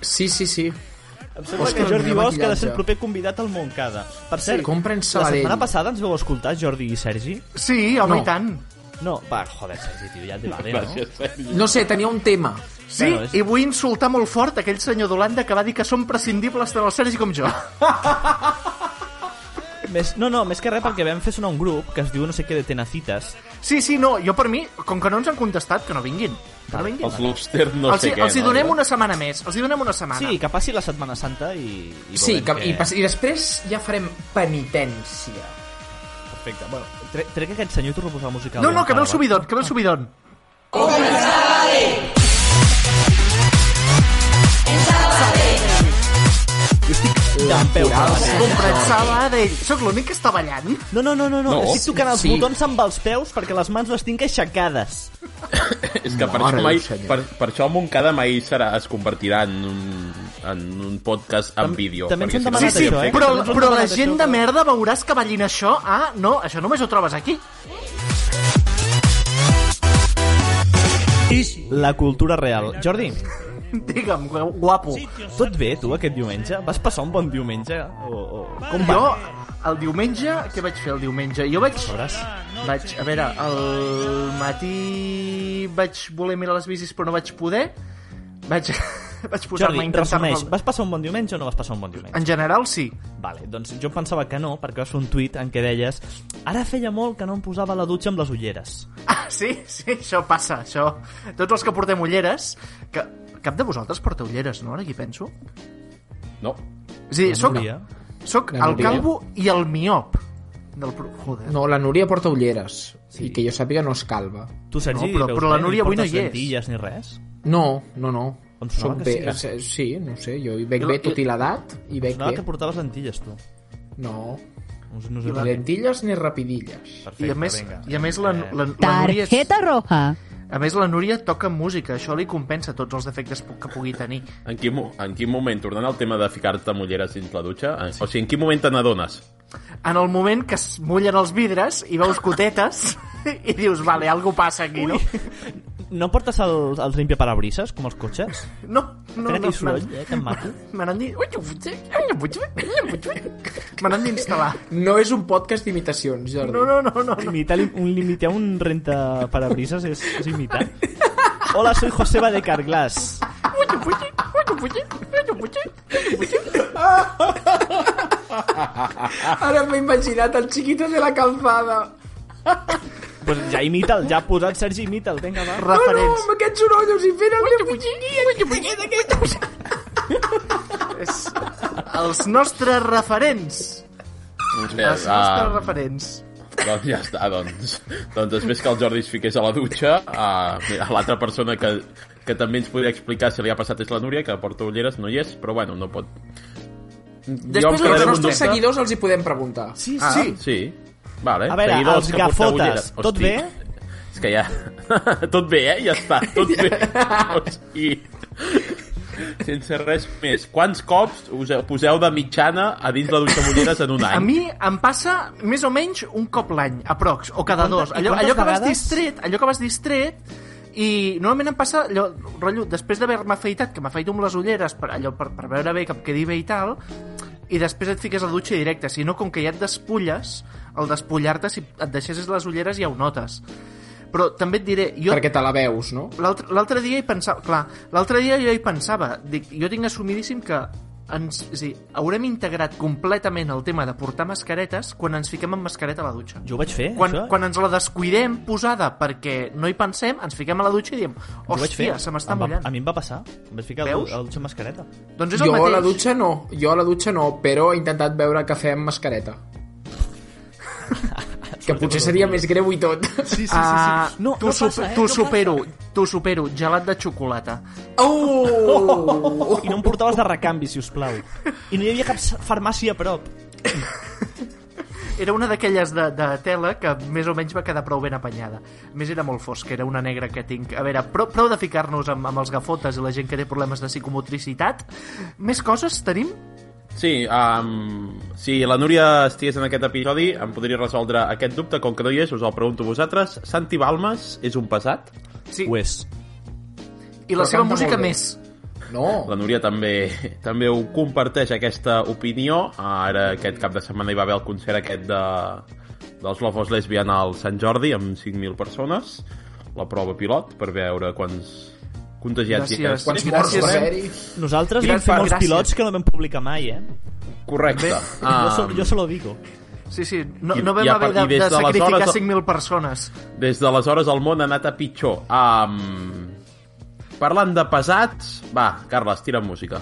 Speaker 5: Sí, sí, sí.
Speaker 4: Em sembla
Speaker 5: Òscar,
Speaker 4: que Jordi
Speaker 5: mira
Speaker 4: Bosch ha de ser
Speaker 5: maquillatge.
Speaker 4: el proper convidat al Montcada. Per cert,
Speaker 5: compren
Speaker 4: la
Speaker 5: Sabadell.
Speaker 4: setmana passada ens vau escoltar, Jordi i Sergi?
Speaker 2: Sí, home, No. i tant.
Speaker 4: No, va, joder, Sergi, tio, ja et va bé,
Speaker 2: Gràcies,
Speaker 4: no?
Speaker 5: No sé, tenia un tema.
Speaker 2: Sí, i vull insultar molt fort aquell senyor d'Holanda que va dir que són prescindibles tant el Sergi com jo.
Speaker 4: Més, no, no, més que res perquè vam fer sonar un grup que es diu no sé què de Tenacitas.
Speaker 2: Sí, sí, no, jo per mi, com que no ens han contestat, que no vinguin. Que no vinguin.
Speaker 4: Els lobster no
Speaker 2: els,
Speaker 4: sé
Speaker 2: hi-
Speaker 4: què,
Speaker 2: Els hi
Speaker 4: no?
Speaker 2: donem una setmana més, els hi donem una setmana.
Speaker 4: Sí, que passi la Setmana Santa i... i
Speaker 5: Sí,
Speaker 4: veurem
Speaker 5: que,
Speaker 4: què-
Speaker 5: i, pas- i després ja farem penitència.
Speaker 4: Perfecte, bueno, tre- trec aquest senyor i torno a posar música.
Speaker 2: No, no, que ve el subidon, que ve el subidon.
Speaker 4: D'en peu.
Speaker 2: Comprençava d'ell. Soc l'únic que està ballant?
Speaker 4: No, no, no, no, no.
Speaker 3: No.
Speaker 4: estic tocant els
Speaker 3: Sí.
Speaker 4: botons amb els peus perquè les mans les tinc aixecades.
Speaker 3: És que per
Speaker 4: Mare
Speaker 3: això, mai,
Speaker 4: del senyor.
Speaker 3: per, per això Montcada mai serà, es convertirà en un, en un podcast en vídeo.
Speaker 4: també ens
Speaker 3: perquè
Speaker 4: han
Speaker 3: si no
Speaker 2: Sí, sí,
Speaker 4: eh?
Speaker 3: seria fake.
Speaker 2: però, però la gent de merda veuràs que ballin això. Ah, no, això només ho trobes aquí.
Speaker 4: La cultura real. Jordi,
Speaker 2: Digue'm, guapo.
Speaker 4: tot bé, tu, aquest diumenge? Vas passar un bon diumenge? O, o... Com va?
Speaker 2: jo, el diumenge, què vaig fer el diumenge? Jo vaig... Vaig, a veure, al matí vaig voler mirar les bicis però no vaig poder. Vaig, vaig posar-me a
Speaker 4: Jordi,
Speaker 2: intentar...
Speaker 4: resumeix, vas passar un bon diumenge o no vas passar un bon diumenge?
Speaker 2: En general, sí.
Speaker 4: Vale, doncs jo pensava que no, perquè vas fer un tuit en què deies ara feia molt que no em posava a la dutxa amb les ulleres.
Speaker 2: Ah, sí, sí, això passa, això. Tots els que portem ulleres... Que, cap de vosaltres porta ulleres, no? Ara aquí penso.
Speaker 3: No.
Speaker 2: Sí,
Speaker 5: La
Speaker 2: soc,
Speaker 5: Núria.
Speaker 2: soc
Speaker 5: La
Speaker 2: el
Speaker 5: Núria.
Speaker 2: calvo i el miop. Del, pro- joder.
Speaker 5: No, la Núria porta ulleres. Sí. I que jo sàpiga no és calva.
Speaker 4: Tu, Sergi,
Speaker 2: No, però-
Speaker 4: veus
Speaker 2: però la
Speaker 4: bé?
Speaker 2: Núria avui no
Speaker 4: portes
Speaker 2: hi és.
Speaker 4: lentilles ni res?
Speaker 5: No, no, no.
Speaker 4: Em
Speaker 5: Soc
Speaker 4: sonava que
Speaker 5: bé, eh.
Speaker 4: sí. eh.
Speaker 5: sí. sí, no ho sé, jo hi bec
Speaker 4: Jo-
Speaker 5: bé tot i l'edat, i bec
Speaker 4: Sonava
Speaker 5: bé.
Speaker 4: que portaves lentilles, tu.
Speaker 5: No.
Speaker 4: Uns, uns,
Speaker 5: Ni lentilles ni rapidilles.
Speaker 2: I a més, i a més la, la, la Núria... és-
Speaker 10: Tarjeta roja.
Speaker 2: A més, la Núria toca música, això li compensa tots els defectes pu- que pugui tenir.
Speaker 3: En quin, mo- en quin moment, tornant al tema de ficar-te mulleres dins la dutxa, en, o sigui, en quin moment te n'adones?
Speaker 2: En el moment que es mullen els vidres i veus cotetes i dius, vale, algo passa aquí, no?
Speaker 4: No portes el, els limpiaparabrises, com els cotxes?
Speaker 2: No, no,
Speaker 4: Fent
Speaker 2: no.
Speaker 4: aquell soroll, eh, que em mato.
Speaker 2: Me n'han dit... Ui, que fuig, ui, que fuig, ui, que fuig. Me n'han d'instal·lar.
Speaker 5: No és un podcast d'imitacions, Jordi.
Speaker 2: No, no, no, no.
Speaker 4: Imitar, un, limitar un rentaparabrisas és, és imitar. Hola, soy Joseba de Carglass.
Speaker 5: Ara m'he imaginat el xiquito de la calzada.
Speaker 4: Pues ja imita'l, ja ha posat Sergi, imita'l, vinga, va.
Speaker 5: Oh, No, no, amb aquest soroll us hi fent el meu puxingui.
Speaker 2: És els nostres referents. Els nostres
Speaker 3: Ah,
Speaker 2: referents.
Speaker 3: Doncs ja està, doncs. Doncs després que el Jordi es fiqués a la dutxa, a, a l'altra persona que, que també ens podria explicar si li ha passat és la Núria, que porta ulleres, no hi és, però bueno, no pot... Jo em
Speaker 5: Després
Speaker 3: quedaré
Speaker 5: als
Speaker 3: amb
Speaker 5: nostres
Speaker 3: un dubte.
Speaker 5: seguidors els hi podem preguntar.
Speaker 4: Sí,
Speaker 3: Ah, sí. Vale.
Speaker 5: A veure,
Speaker 3: seguidors
Speaker 5: els
Speaker 3: que porteu
Speaker 5: gafotes,
Speaker 3: ulleres.
Speaker 5: tot
Speaker 3: Hosti,
Speaker 5: bé?
Speaker 3: És que ja... tot bé, eh? Ja està, tot bé. Hosti. Sense res més. Quants cops us poseu de mitjana a dins la dutxa amb ulleres en un any?
Speaker 2: A mi em passa més o menys un cop l'any, aprox, o cada
Speaker 4: I quantes-
Speaker 2: dos.
Speaker 4: i
Speaker 2: Allò,
Speaker 4: quantes
Speaker 2: allò que vas
Speaker 4: vegades?
Speaker 2: distret, allò que vas distret, i normalment em passa allò, rotllo, després d'haver-me afeitat, que m'afeito amb les ulleres per, allò, per, per veure bé que em quedi bé i tal, i després et fiques a la dutxa directa, si no, com que ja et despulles, al despullar-te, si et deixessis les ulleres ja ho notes. Però també et diré... Jo...
Speaker 5: Perquè te la veus, no?
Speaker 2: L'altre l'altre dia hi pensava... Clar, l'altre dia jo hi pensava. Dic, jo tinc assumidíssim que ens, és a dir, haurem integrat completament el tema de portar mascaretes quan ens fiquem amb mascareta a la dutxa.
Speaker 4: Jo ho vaig fer,
Speaker 2: Quan,
Speaker 4: això?
Speaker 2: quan ens la descuidem posada perquè no hi pensem, ens fiquem a la dutxa i diem
Speaker 4: ho vaig fer.
Speaker 2: hòstia, se
Speaker 4: Em
Speaker 2: m'està
Speaker 4: va-
Speaker 2: mullant.
Speaker 4: A mi em va passar. Em vaig ficar a la
Speaker 2: Veus?
Speaker 4: du- a la dutxa amb mascareta.
Speaker 2: Doncs
Speaker 5: jo a la dutxa no, jo a la dutxa no, però he intentat beure cafè amb mascareta. que potser seria més greu i tot. Sí,
Speaker 2: Ah,
Speaker 4: No,
Speaker 2: t'ho
Speaker 4: no
Speaker 2: supe-
Speaker 4: passa, eh?
Speaker 2: t'ho
Speaker 4: No
Speaker 2: supero, t'ho supero, gelat de xocolata.
Speaker 4: Oh! I no em portaves de recanvi, si us plau. I no hi havia cap s- farmàcia a prop.
Speaker 2: Era una d'aquelles de, de tela que més o menys va quedar prou ben apanyada. A més, era molt fosc, era una negra que tinc... A veure, prou, prou de ficar-nos amb, amb els gafotes i la gent que té problemes de psicomotricitat. Més coses tenim?
Speaker 3: Sí, um, si la Núria estigués en aquest episodi, em podria resoldre aquest dubte, com que no hi és, us el pregunto a vosaltres. Santi Balmes és un pesat?
Speaker 2: Sí.
Speaker 4: Ho és.
Speaker 2: I la
Speaker 5: Però
Speaker 2: seva
Speaker 5: canta
Speaker 2: música
Speaker 5: molt bé.
Speaker 2: més.
Speaker 5: No.
Speaker 3: La Núria també també ho comparteix, aquesta opinió. Ara, aquest cap de setmana hi va haver el concert aquest de, dels Lofos Lesbian al Sant Jordi, amb 5.000 persones. La prova pilot, per veure quants contagiats hi ha.
Speaker 2: Gràcies.
Speaker 5: Quants morts
Speaker 2: Gràcies. eh?
Speaker 5: va haver-hi?
Speaker 4: Nosaltres vam
Speaker 2: Gràcies,
Speaker 4: fer molts
Speaker 2: gràcies.
Speaker 4: pilots que no vam publicar mai, eh?
Speaker 3: Correcte.
Speaker 4: Jo,
Speaker 3: Ah,
Speaker 4: so, jo se lo digo.
Speaker 2: Sí, sí, no,
Speaker 3: I-
Speaker 2: no vam
Speaker 3: i a
Speaker 2: haver
Speaker 3: par-
Speaker 2: de,
Speaker 3: i des
Speaker 2: de
Speaker 3: d'aleshores-
Speaker 2: sacrificar 5.000 persones.
Speaker 3: Des d'aleshores el món ha anat a pitjor. Um, parlant de pesats... Va, Carles, tira música.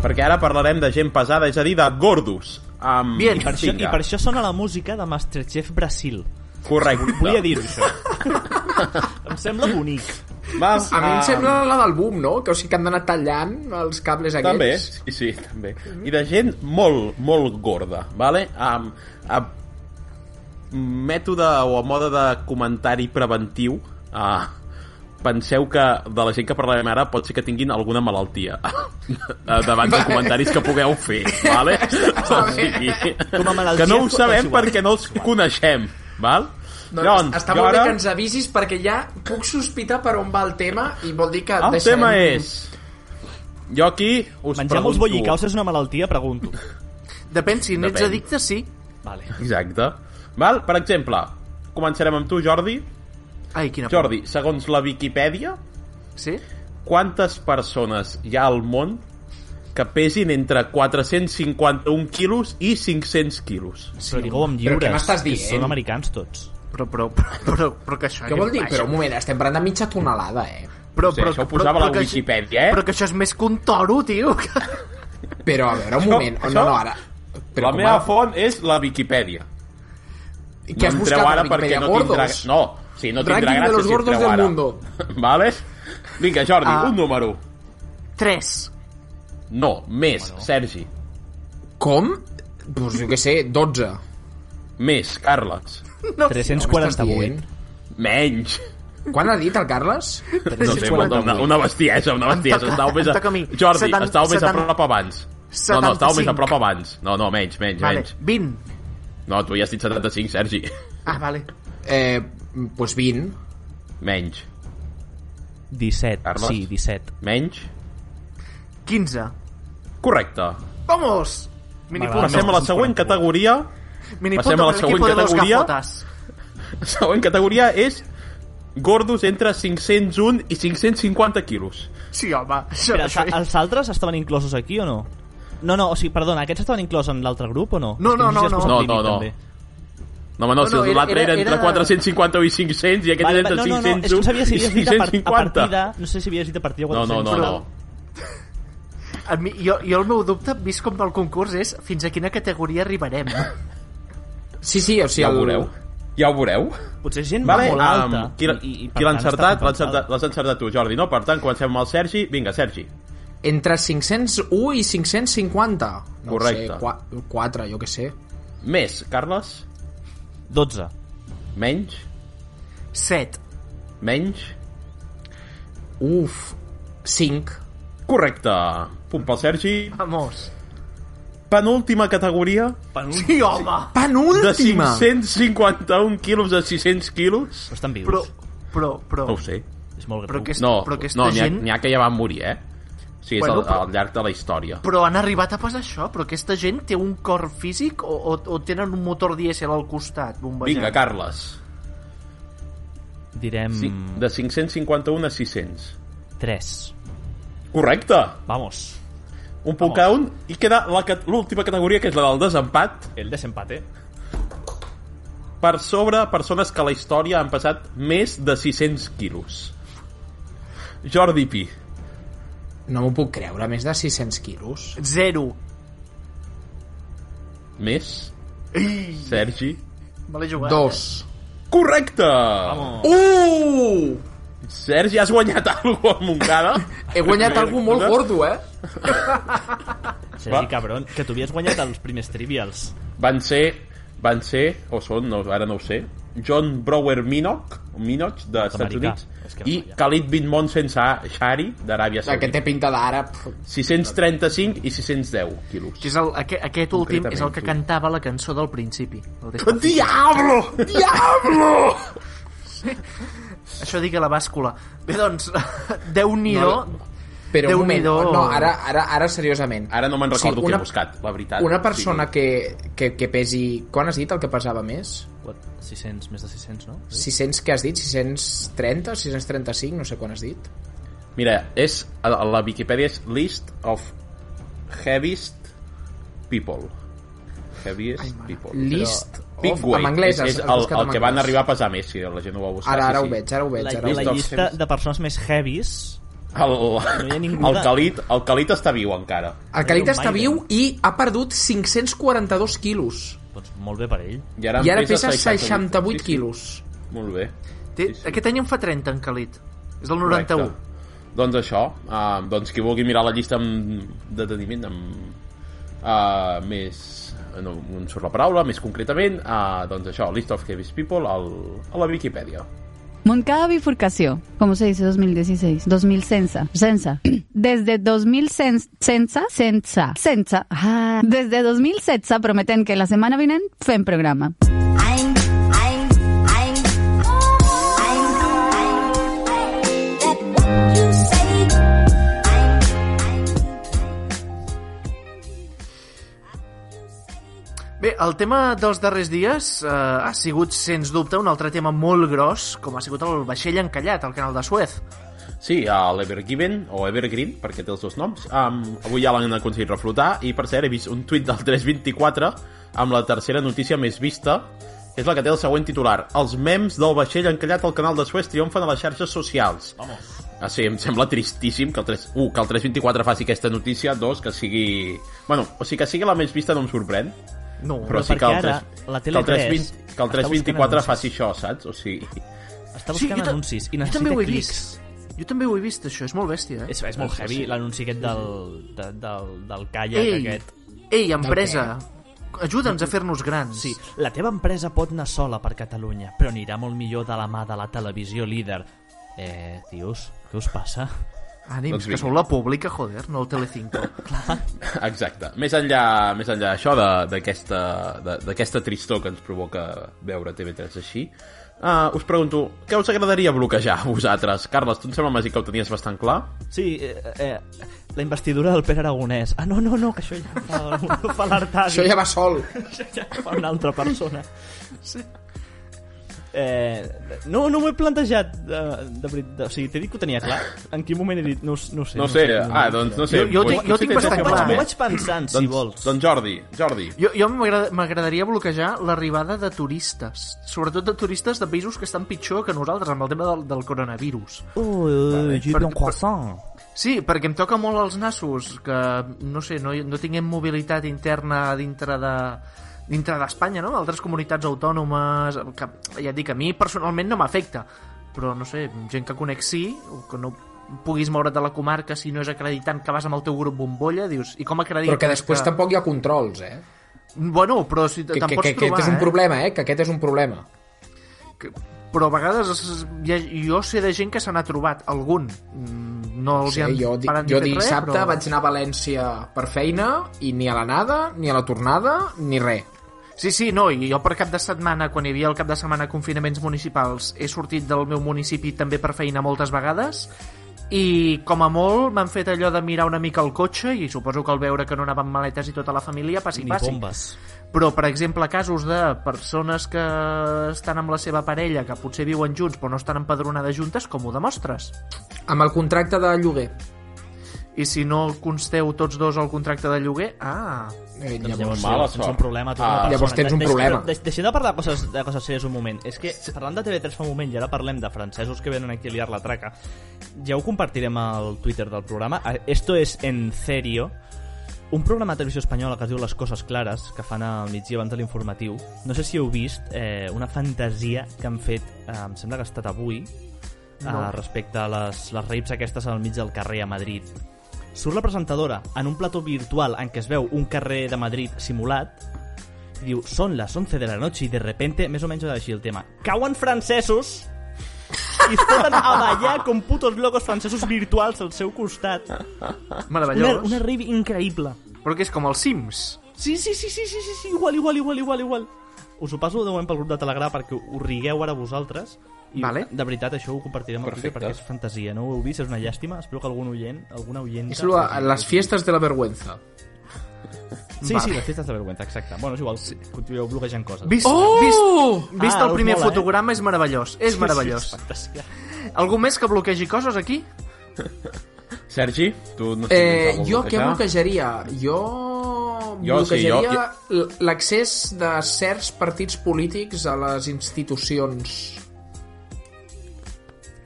Speaker 3: Perquè ara parlarem de gent pesada, és a dir, de gordos. Um,
Speaker 2: Bien.
Speaker 4: I per, això, I per això sona la música de Masterchef Brasil.
Speaker 3: Correcte.
Speaker 4: Volia dir-ho, això. em sembla bonic.
Speaker 3: Va,
Speaker 5: A mi em
Speaker 3: ah,
Speaker 5: sembla la del boom, no? Que o sigui que han d'anar tallant els cables aquests.
Speaker 3: També, sí, sí, també.
Speaker 5: Mhm.
Speaker 3: I de gent molt, molt gorda, vale? Amb, amb mètode o a mode de comentari preventiu, ah, penseu que de la gent que parlarem ara pot ser que tinguin alguna malaltia Ah, davant de comentaris que pugueu fer, vale? O sigui,
Speaker 4: Com a malaltia
Speaker 3: que no ho
Speaker 4: és
Speaker 3: sabem
Speaker 4: igual.
Speaker 3: perquè no els coneixem, val?
Speaker 5: Doncs, està
Speaker 3: jo
Speaker 5: molt bé
Speaker 3: ara-
Speaker 5: que ens avisis perquè ja puc sospitar per on va el tema i vol dir que
Speaker 3: Ah, El
Speaker 5: deixarem...
Speaker 3: tema és... Jo aquí us
Speaker 4: Menjar molts
Speaker 3: pregunto-
Speaker 4: bollicaus és una malaltia? Pregunto.
Speaker 2: Depèn, si n'ets
Speaker 3: Depèn.
Speaker 2: addicte, sí.
Speaker 4: Vale.
Speaker 3: Exacte. Val? Per exemple, començarem amb tu, Jordi.
Speaker 2: Ai, quina por.
Speaker 3: Jordi, segons la Viquipèdia,
Speaker 2: Sí?
Speaker 3: quantes persones hi ha al món que pesin entre 451 quilos i 500 quilos?
Speaker 4: Però digueu amb
Speaker 5: Però
Speaker 4: lliures.
Speaker 5: què m'estàs
Speaker 4: que
Speaker 5: dient?
Speaker 4: Són americans tots.
Speaker 2: Però, però, però, però, però que això...
Speaker 5: Què vol dir?
Speaker 2: Vaja.
Speaker 5: Però un moment, estem parlant de mitja tonelada, eh?
Speaker 2: Però,
Speaker 3: No sé, això ho posava la
Speaker 2: que això-
Speaker 3: Wikipedia, eh?
Speaker 2: Però que això és més que un toro, tio. Que...
Speaker 5: Però a veure, un
Speaker 3: Això-
Speaker 5: moment.
Speaker 3: això-
Speaker 5: No, no, ara... Però
Speaker 3: la
Speaker 5: com
Speaker 3: meva
Speaker 5: ara-
Speaker 3: font és la Viquipèdia.
Speaker 5: Què has
Speaker 3: em
Speaker 5: buscat
Speaker 3: treu
Speaker 5: a Wikipedia?
Speaker 3: no
Speaker 5: gordos?
Speaker 3: tindrà... No, sí, no tindrà
Speaker 5: Ranking de
Speaker 3: gràcia
Speaker 5: los
Speaker 3: si em
Speaker 5: gordos
Speaker 3: treu
Speaker 5: del
Speaker 3: ara.
Speaker 5: mundo.
Speaker 3: Vale? Vinga, Jordi,
Speaker 2: Ah.
Speaker 3: un número.
Speaker 2: Tres.
Speaker 3: No, més, Sergi.
Speaker 5: Com? Doncs jo què sé, 12.
Speaker 3: Més, Carles.
Speaker 2: No,
Speaker 5: dient?
Speaker 4: 348.
Speaker 3: Menys.
Speaker 5: Quan ha dit el Carles?
Speaker 3: No sé, una, una, una bestiesa, una bestiesa.
Speaker 2: Em toca-
Speaker 3: Estàveu més
Speaker 2: em toca a
Speaker 3: a...
Speaker 2: mi.
Speaker 3: Jordi,
Speaker 2: Setan-
Speaker 3: estàveu més a
Speaker 2: setan-
Speaker 3: prop abans. No, no, estàveu més a prop abans. No, no, menys, menys,
Speaker 2: Vale,
Speaker 3: menys.
Speaker 2: 20.
Speaker 3: No, tu ja has dit 75, Sergi.
Speaker 2: Ah, vale.
Speaker 5: Eh, doncs 20.
Speaker 3: Menys.
Speaker 4: 17.
Speaker 3: Carles?
Speaker 4: Sí, 17.
Speaker 3: Menys.
Speaker 2: 15.
Speaker 3: Correcte.
Speaker 2: Vamos! Mini
Speaker 4: M'agrada.
Speaker 2: punt.
Speaker 3: Passem a la següent categoria.
Speaker 2: Mini
Speaker 3: Passem
Speaker 2: punto
Speaker 3: a la
Speaker 2: per
Speaker 3: següent
Speaker 2: l'equipo de los
Speaker 3: categoria.
Speaker 2: gafotas.
Speaker 3: La següent categoria és gordos entre 501 i 550 quilos.
Speaker 2: Sí, home. Això,
Speaker 4: Però,
Speaker 2: això,
Speaker 4: els, els altres estaven inclosos aquí o no? No, no, o sigui, perdona, aquests estaven inclosos en l'altre grup o no?
Speaker 2: No,
Speaker 4: És que
Speaker 2: no,
Speaker 4: sé si has
Speaker 2: no,
Speaker 4: posat
Speaker 3: no. No,
Speaker 4: límit,
Speaker 3: no, no.
Speaker 4: també.
Speaker 3: No, home, no,
Speaker 2: No,
Speaker 3: si
Speaker 2: no, era-
Speaker 3: l'altre era,
Speaker 2: era-
Speaker 3: entre
Speaker 2: era-
Speaker 3: 450 i 500 i aquest
Speaker 4: Vale,
Speaker 3: era entre
Speaker 4: no, no,
Speaker 3: 501
Speaker 4: no, és que no sabia si
Speaker 3: i
Speaker 4: havies dit a, par a
Speaker 3: 550.
Speaker 4: partida... No sé si havies dit a partida
Speaker 3: No, no, no, no.
Speaker 2: a mi, jo, jo el meu dubte, vist com va el concurs, és fins a quina categoria arribarem.
Speaker 5: Sí, sí, o sigui...
Speaker 3: Ja ho
Speaker 5: el-
Speaker 3: veureu. Ja ho veureu.
Speaker 4: Potser gent
Speaker 3: Vale,
Speaker 4: molt alta.
Speaker 3: um, qui l'ha
Speaker 4: i- i, per
Speaker 3: qui l'ha
Speaker 4: tant, està
Speaker 3: encertat? L'ha
Speaker 4: compensada.
Speaker 3: encertat, l'has encertat tu, Jordi, no? Per tant, comencem amb el Sergi. Vinga, Sergi.
Speaker 5: Entre 501 i 550. No ho
Speaker 3: Correcte.
Speaker 5: Sé, 4, 4 jo què sé.
Speaker 3: Més, Carles?
Speaker 4: 12.
Speaker 3: Menys?
Speaker 2: 7.
Speaker 3: Menys?
Speaker 5: Uf, 5.
Speaker 3: Correcte. Punt pel Sergi.
Speaker 2: Vamos.
Speaker 3: Penúltima categoria.
Speaker 2: Sí, home.
Speaker 3: De
Speaker 5: Penúltima!
Speaker 3: 551 quilos a 600 quilos.
Speaker 4: Però estan vius.
Speaker 2: Però, però, però...
Speaker 3: No ho sé.
Speaker 4: És molt greu.
Speaker 2: Però que és-
Speaker 3: No,
Speaker 2: però aquesta
Speaker 3: no n'hi ha,
Speaker 2: gent-
Speaker 3: n'hi ha que ja van morir, eh? O sigui, és
Speaker 2: Bueno,
Speaker 3: al,
Speaker 2: però-
Speaker 3: al llarg de la història.
Speaker 2: Però han arribat a passar això? Però aquesta gent té un cor físic o, o, o tenen un motor dièsel al costat? Bombejant?
Speaker 3: Vinga, Carles.
Speaker 4: direm...
Speaker 3: Sí, de 551 a 600.
Speaker 4: 3.
Speaker 3: Correcte!
Speaker 4: Vamos.
Speaker 3: Un punt cada un i queda la cat- l'última categoria, que és la del desempat.
Speaker 4: El desempate.
Speaker 3: Per sobre persones que a la història han passat més de 600 quilos. Jordi Pi.
Speaker 5: No m'ho puc creure, més de 600 quilos.
Speaker 2: Zero.
Speaker 3: Més. Sergi.
Speaker 2: Me l'he jugat.
Speaker 5: Dos.
Speaker 3: Correcte!
Speaker 2: Vamos.
Speaker 5: Uh!
Speaker 3: Sergi, has guanyat alguna cosa a Montcada?
Speaker 5: He guanyat algú molt gordo, eh?
Speaker 4: Sergi, cabron, que tu havies guanyat els primers trivials.
Speaker 3: Van ser, van ser, o són, no, ara no ho sé, John Brower Minoch, Minoch dels Estats
Speaker 4: Nord-americà.
Speaker 3: Units, i Khalid bin Monsen Sa- Shari, d'Aràbia
Speaker 5: Aquest
Speaker 3: Saudita.
Speaker 5: té pinta d'àrab.
Speaker 3: 635 i 610 quilos.
Speaker 2: Que és el, aquest, aquest últim és el que cantava la cançó del principi. El Despacito.
Speaker 5: Diablo! Diablo!
Speaker 2: Això digue la bàscula. Bé, doncs, Déu-n'hi-do.
Speaker 5: No, Però un moment,
Speaker 2: Déu-n'hi-do.
Speaker 5: no, ara, ara, ara seriosament.
Speaker 3: Ara no me'n
Speaker 5: O sigui,
Speaker 3: recordo sí,
Speaker 5: una-
Speaker 3: què he buscat, la veritat.
Speaker 5: Una persona que, que, que pesi... Quan has dit el que pesava més?
Speaker 4: What? 600, més de 600, no?
Speaker 5: 600, què has dit? 630? 635? No sé quan has dit.
Speaker 3: Que... Mira, és, a a la Viquipèdia és List of Heaviest People. Heaviest Ai, people.
Speaker 5: List
Speaker 3: Però
Speaker 5: of-
Speaker 3: Peak weight.
Speaker 5: en anglès, has-
Speaker 3: és, és
Speaker 5: has
Speaker 3: el,
Speaker 5: buscat en
Speaker 3: el que van
Speaker 5: anglès.
Speaker 3: arribar a pesar més, si la gent ho va buscar.
Speaker 5: Ara,
Speaker 3: sí,
Speaker 5: ara
Speaker 3: sí.
Speaker 5: ho veig, ara ho veig.
Speaker 4: La,
Speaker 5: Ara ho
Speaker 4: la
Speaker 5: veig.
Speaker 4: llista de persones més heavies...
Speaker 3: El,
Speaker 4: hi ha ningú
Speaker 3: el,
Speaker 4: de-
Speaker 3: Calit, el Calit està viu encara.
Speaker 5: El Calita està viu i ha perdut 542 quilos.
Speaker 4: Doncs molt bé per ell.
Speaker 3: I ara,
Speaker 5: I ara
Speaker 3: en
Speaker 5: pesa
Speaker 3: 68.
Speaker 5: 68 quilos.
Speaker 3: Sí, sí. Molt bé.
Speaker 2: Té, Aquest any en fa 30, en Calit. És el 91.
Speaker 3: Correcte. Doncs això, uh, doncs qui vulgui mirar la llista amb deteniment, amb uh, més... No, no em surt la paraula, més concretament, uh, doncs això, List of Heaviest People al, a la Viquipèdia.
Speaker 10: Moncada bifurcación, ¿cómo se dice 2016? 2000 censa, censa. Desde 2000 cen- censa, censa, censa. Ah, Desde 2000 censa prometen que la semana vienen fem programa.
Speaker 2: Bé, el tema dels darrers dies eh, ha sigut, sens dubte, un altre tema molt gros, com ha sigut el vaixell encallat al canal de Suez.
Speaker 3: Sí, a l'Evergiven, o Evergreen, perquè té els dos noms. Um, avui ja l'han aconseguit reflotar, i per cert he vist un tuit del 324 amb la tercera notícia més vista, que és la que té el següent titular. Els mems del vaixell encallat al canal de Suez triomfen a les xarxes socials. Vamos. Ah, sí, em sembla tristíssim que el, 3, un, que el 324 faci aquesta notícia, dos, que sigui... Bueno, o sigui que sigui la més vista no em sorprèn,
Speaker 2: No,
Speaker 3: però sí que
Speaker 4: perquè
Speaker 3: el,
Speaker 4: ara
Speaker 3: 3,
Speaker 4: la
Speaker 3: que el,
Speaker 4: Tele3
Speaker 3: 320, que el
Speaker 4: està buscant
Speaker 3: 324
Speaker 4: anuncis.
Speaker 3: faci això, saps? O sigui...
Speaker 4: Està
Speaker 2: Sí,
Speaker 4: buscant
Speaker 2: jo ta-
Speaker 4: anuncis i
Speaker 2: jo
Speaker 4: necessita
Speaker 2: també ho he
Speaker 4: clics.
Speaker 2: vist. Jo també ho he vist, això. És molt bèstia, eh?
Speaker 4: És, és molt heavy l'anunci aquest del, de, del, del kayak
Speaker 2: Ei,
Speaker 4: aquest.
Speaker 2: ei, empresa, ajuda'ns a fer-nos grans.
Speaker 4: Sí, la teva empresa pot anar sola per Catalunya, però anirà molt millor de la mà de la televisió líder. Eh, tios, què us passa?
Speaker 2: Ànims,
Speaker 3: Doncs
Speaker 2: que
Speaker 3: vinga.
Speaker 2: sou la pública, joder, no el Telecinco.
Speaker 3: Exacte. Més enllà, més enllà això de- d'aquesta de- d'aquesta tristor que ens provoca veure TV3 així, uh, us pregunto, què us agradaria bloquejar a vosaltres? Carles, tu em sembla m'has dit que ho tenies bastant clar.
Speaker 4: Sí, eh, eh, la investidura del Pere Aragonès. Ah, no, no, no, que això ja ho fa, ho fa l'Artadi.
Speaker 5: Això ja va sol.
Speaker 4: Això ja ho fa una altra persona. Sí. Eh, no, no m'ho he plantejat de, de, veri- de, o sigui, t'he dit que ho tenia clar en quin moment he dit, no, ho- no ho sé
Speaker 3: No sé, ah, doncs no sé.
Speaker 2: Jo- jo ho tinc-
Speaker 3: potser
Speaker 2: jo ho tinc
Speaker 3: tens
Speaker 2: bastant
Speaker 3: alguna
Speaker 2: clar.
Speaker 3: més.
Speaker 4: Ho vaig pensant, si
Speaker 3: doncs,
Speaker 4: vols.
Speaker 3: Doncs Jordi, Jordi.
Speaker 2: Jo, jo m'agrada- m'agradaria bloquejar l'arribada de turistes, sobretot de turistes de països que estan pitjor que nosaltres amb el tema del, del coronavirus.
Speaker 4: oh, j'ai
Speaker 2: Per-
Speaker 4: un croissant
Speaker 2: Sí, perquè em toca molt els nassos, que, no sé, no, no tinguem mobilitat interna dintre de dintre d'Espanya, no? Altres comunitats autònomes, que ja et dic, a mi personalment no m'afecta, però no sé, gent que conec sí, o que no puguis moure't de la comarca si no és acreditant que vas amb el teu grup bombolla, dius, i com acredites
Speaker 5: Però que després tampoc hi ha controls, eh?
Speaker 2: Bueno, però si
Speaker 5: Que,
Speaker 2: te'n
Speaker 5: que,
Speaker 2: pots
Speaker 5: que,
Speaker 2: trobar,
Speaker 5: aquest és un
Speaker 2: eh?
Speaker 5: problema, eh? Que aquest és un problema.
Speaker 2: però a vegades es- es- hi ha- jo sé de gent que se n'ha trobat algun Mm, no els
Speaker 5: Sí,
Speaker 2: hi han
Speaker 5: jo, di,
Speaker 2: parat ni
Speaker 5: jo
Speaker 2: fet res,
Speaker 5: dissabte
Speaker 2: però...
Speaker 5: vaig anar a València per feina i ni a l'anada, ni a la tornada, ni res.
Speaker 2: sí, sí, no, i jo per cap de setmana quan hi havia el cap de setmana confinaments municipals he sortit del meu municipi també per feina moltes vegades i com a molt m'han fet allò de mirar una mica el cotxe i suposo que al veure que no anaven maletes i tota la família passi
Speaker 4: Ni
Speaker 2: passi
Speaker 4: bombes.
Speaker 2: però per exemple casos de persones que estan amb la seva parella que potser viuen junts però no estan empadronades juntes com ho demostres?
Speaker 5: Amb el contracte de lloguer
Speaker 2: i si no consteu tots dos el contracte de lloguer ah
Speaker 5: eh,
Speaker 4: Doncs llavors, llavors tens un problema. Tu, una persona. Deixa- deix- Deixem de parlar de coses, de coses sèries un moment. És que parlant de TV3 fa un moment, i ara parlem de francesos que venen aquí a liar la traca, ja ho compartirem al Twitter del programa. A- Esto es en serio. Un programa de televisió espanyola que es diu Les Coses Clares, que fan al migdia abans de l'informatiu. No sé si heu vist eh, una fantasia que han fet, eh, em sembla que ha estat avui,
Speaker 2: No.
Speaker 4: eh, respecte a les, les raves aquestes al mig del carrer a Madrid. Surt la presentadora en un plató virtual en què es veu un carrer de Madrid simulat i diu, són les 11 de la noche i de repente, més o menys era així el tema, cauen francesos i es foten a
Speaker 2: Ah.
Speaker 4: ballar com putos locos francesos virtuals al seu costat.
Speaker 2: Meravellós.
Speaker 4: Una, una rave increïble.
Speaker 2: però que és com els Sims
Speaker 4: Sí, sí, sí, sí, sí, sí, sí, igual, igual, igual, igual, igual. Us ho passo de moment pel grup de Telegram perquè ho rigueu ara vosaltres. I
Speaker 2: Vale.
Speaker 4: de veritat això ho compartirem al Twitter
Speaker 2: Perfecte.
Speaker 4: perquè és fantasia, no ho heu vist, és una llàstima. Espero que algun oient, alguna oient...
Speaker 5: És lo, les fiestes de la vergüenza.
Speaker 4: Sí,
Speaker 5: Vale.
Speaker 4: sí, les festes de vergüenza, exacte. Bueno, és igual, sí. continueu bloquejant coses. Oh!
Speaker 2: Vist, vist, vist
Speaker 4: Ah,
Speaker 2: el
Speaker 4: us
Speaker 2: primer
Speaker 4: mola, eh?
Speaker 2: fotograma és meravellós, és
Speaker 4: Sí,
Speaker 2: meravellós.
Speaker 4: sí, és fantàstic.
Speaker 2: Algú més que bloquegi coses aquí?
Speaker 3: Sergi, tu no sé
Speaker 5: Eh,
Speaker 3: vols
Speaker 5: jo què
Speaker 3: bloquejar?
Speaker 5: bloquejaria? Jo,
Speaker 3: Jo, sí, jo-
Speaker 5: bloquejaria l- l'accés de certs partits polítics a les institucions.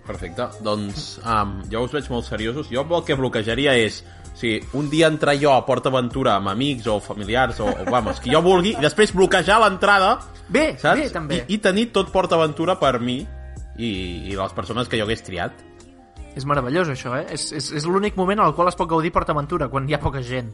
Speaker 3: Perfecte. Doncs um, jo us veig molt seriosos. Jo el que bloquejaria és si un dia entrar jo a Port Aventura amb amics o familiars o, o vamos, qui jo vulgui, i després bloquejar l'entrada,
Speaker 2: bé,
Speaker 3: saps?
Speaker 2: bé, també.
Speaker 3: I, I tenir tot Port Aventura per mi i, i les persones que jo hagués triat.
Speaker 2: És meravellós, això, eh? És, és, és l'únic moment al qual es pot gaudir PortAventura, quan hi ha poca gent.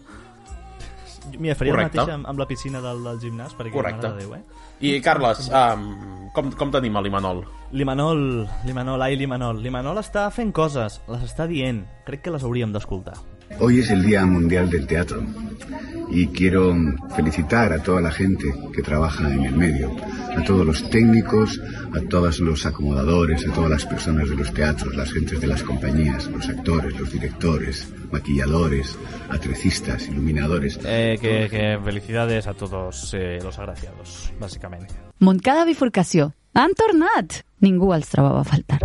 Speaker 4: Mira, faria
Speaker 3: Correcte.
Speaker 4: el mateix amb, amb la piscina del, del gimnàs, perquè
Speaker 3: Correcte.
Speaker 4: mare de Déu, eh?
Speaker 3: I, Carles, um, com, com tenim a l'Imanol?
Speaker 4: Limanol, Limanol, ai, Limanol. Limanol està fent coses, les està dient. Crec que les hauríem d'escoltar.
Speaker 12: Hoy es el Día Mundial del Teatro y quiero felicitar a toda la gente que trabaja en el medio, a todos los técnicos, a todos los acomodadores, a todas las personas de los teatros, las gentes de las compañías, los actores, los directores, maquilladores, atrecistas, iluminadores.
Speaker 4: Eh, que, que felicidades a todos eh, los agraciados, básicamente.
Speaker 10: Montcada bifurcació. Han tornat! Ningú els trobava a faltar.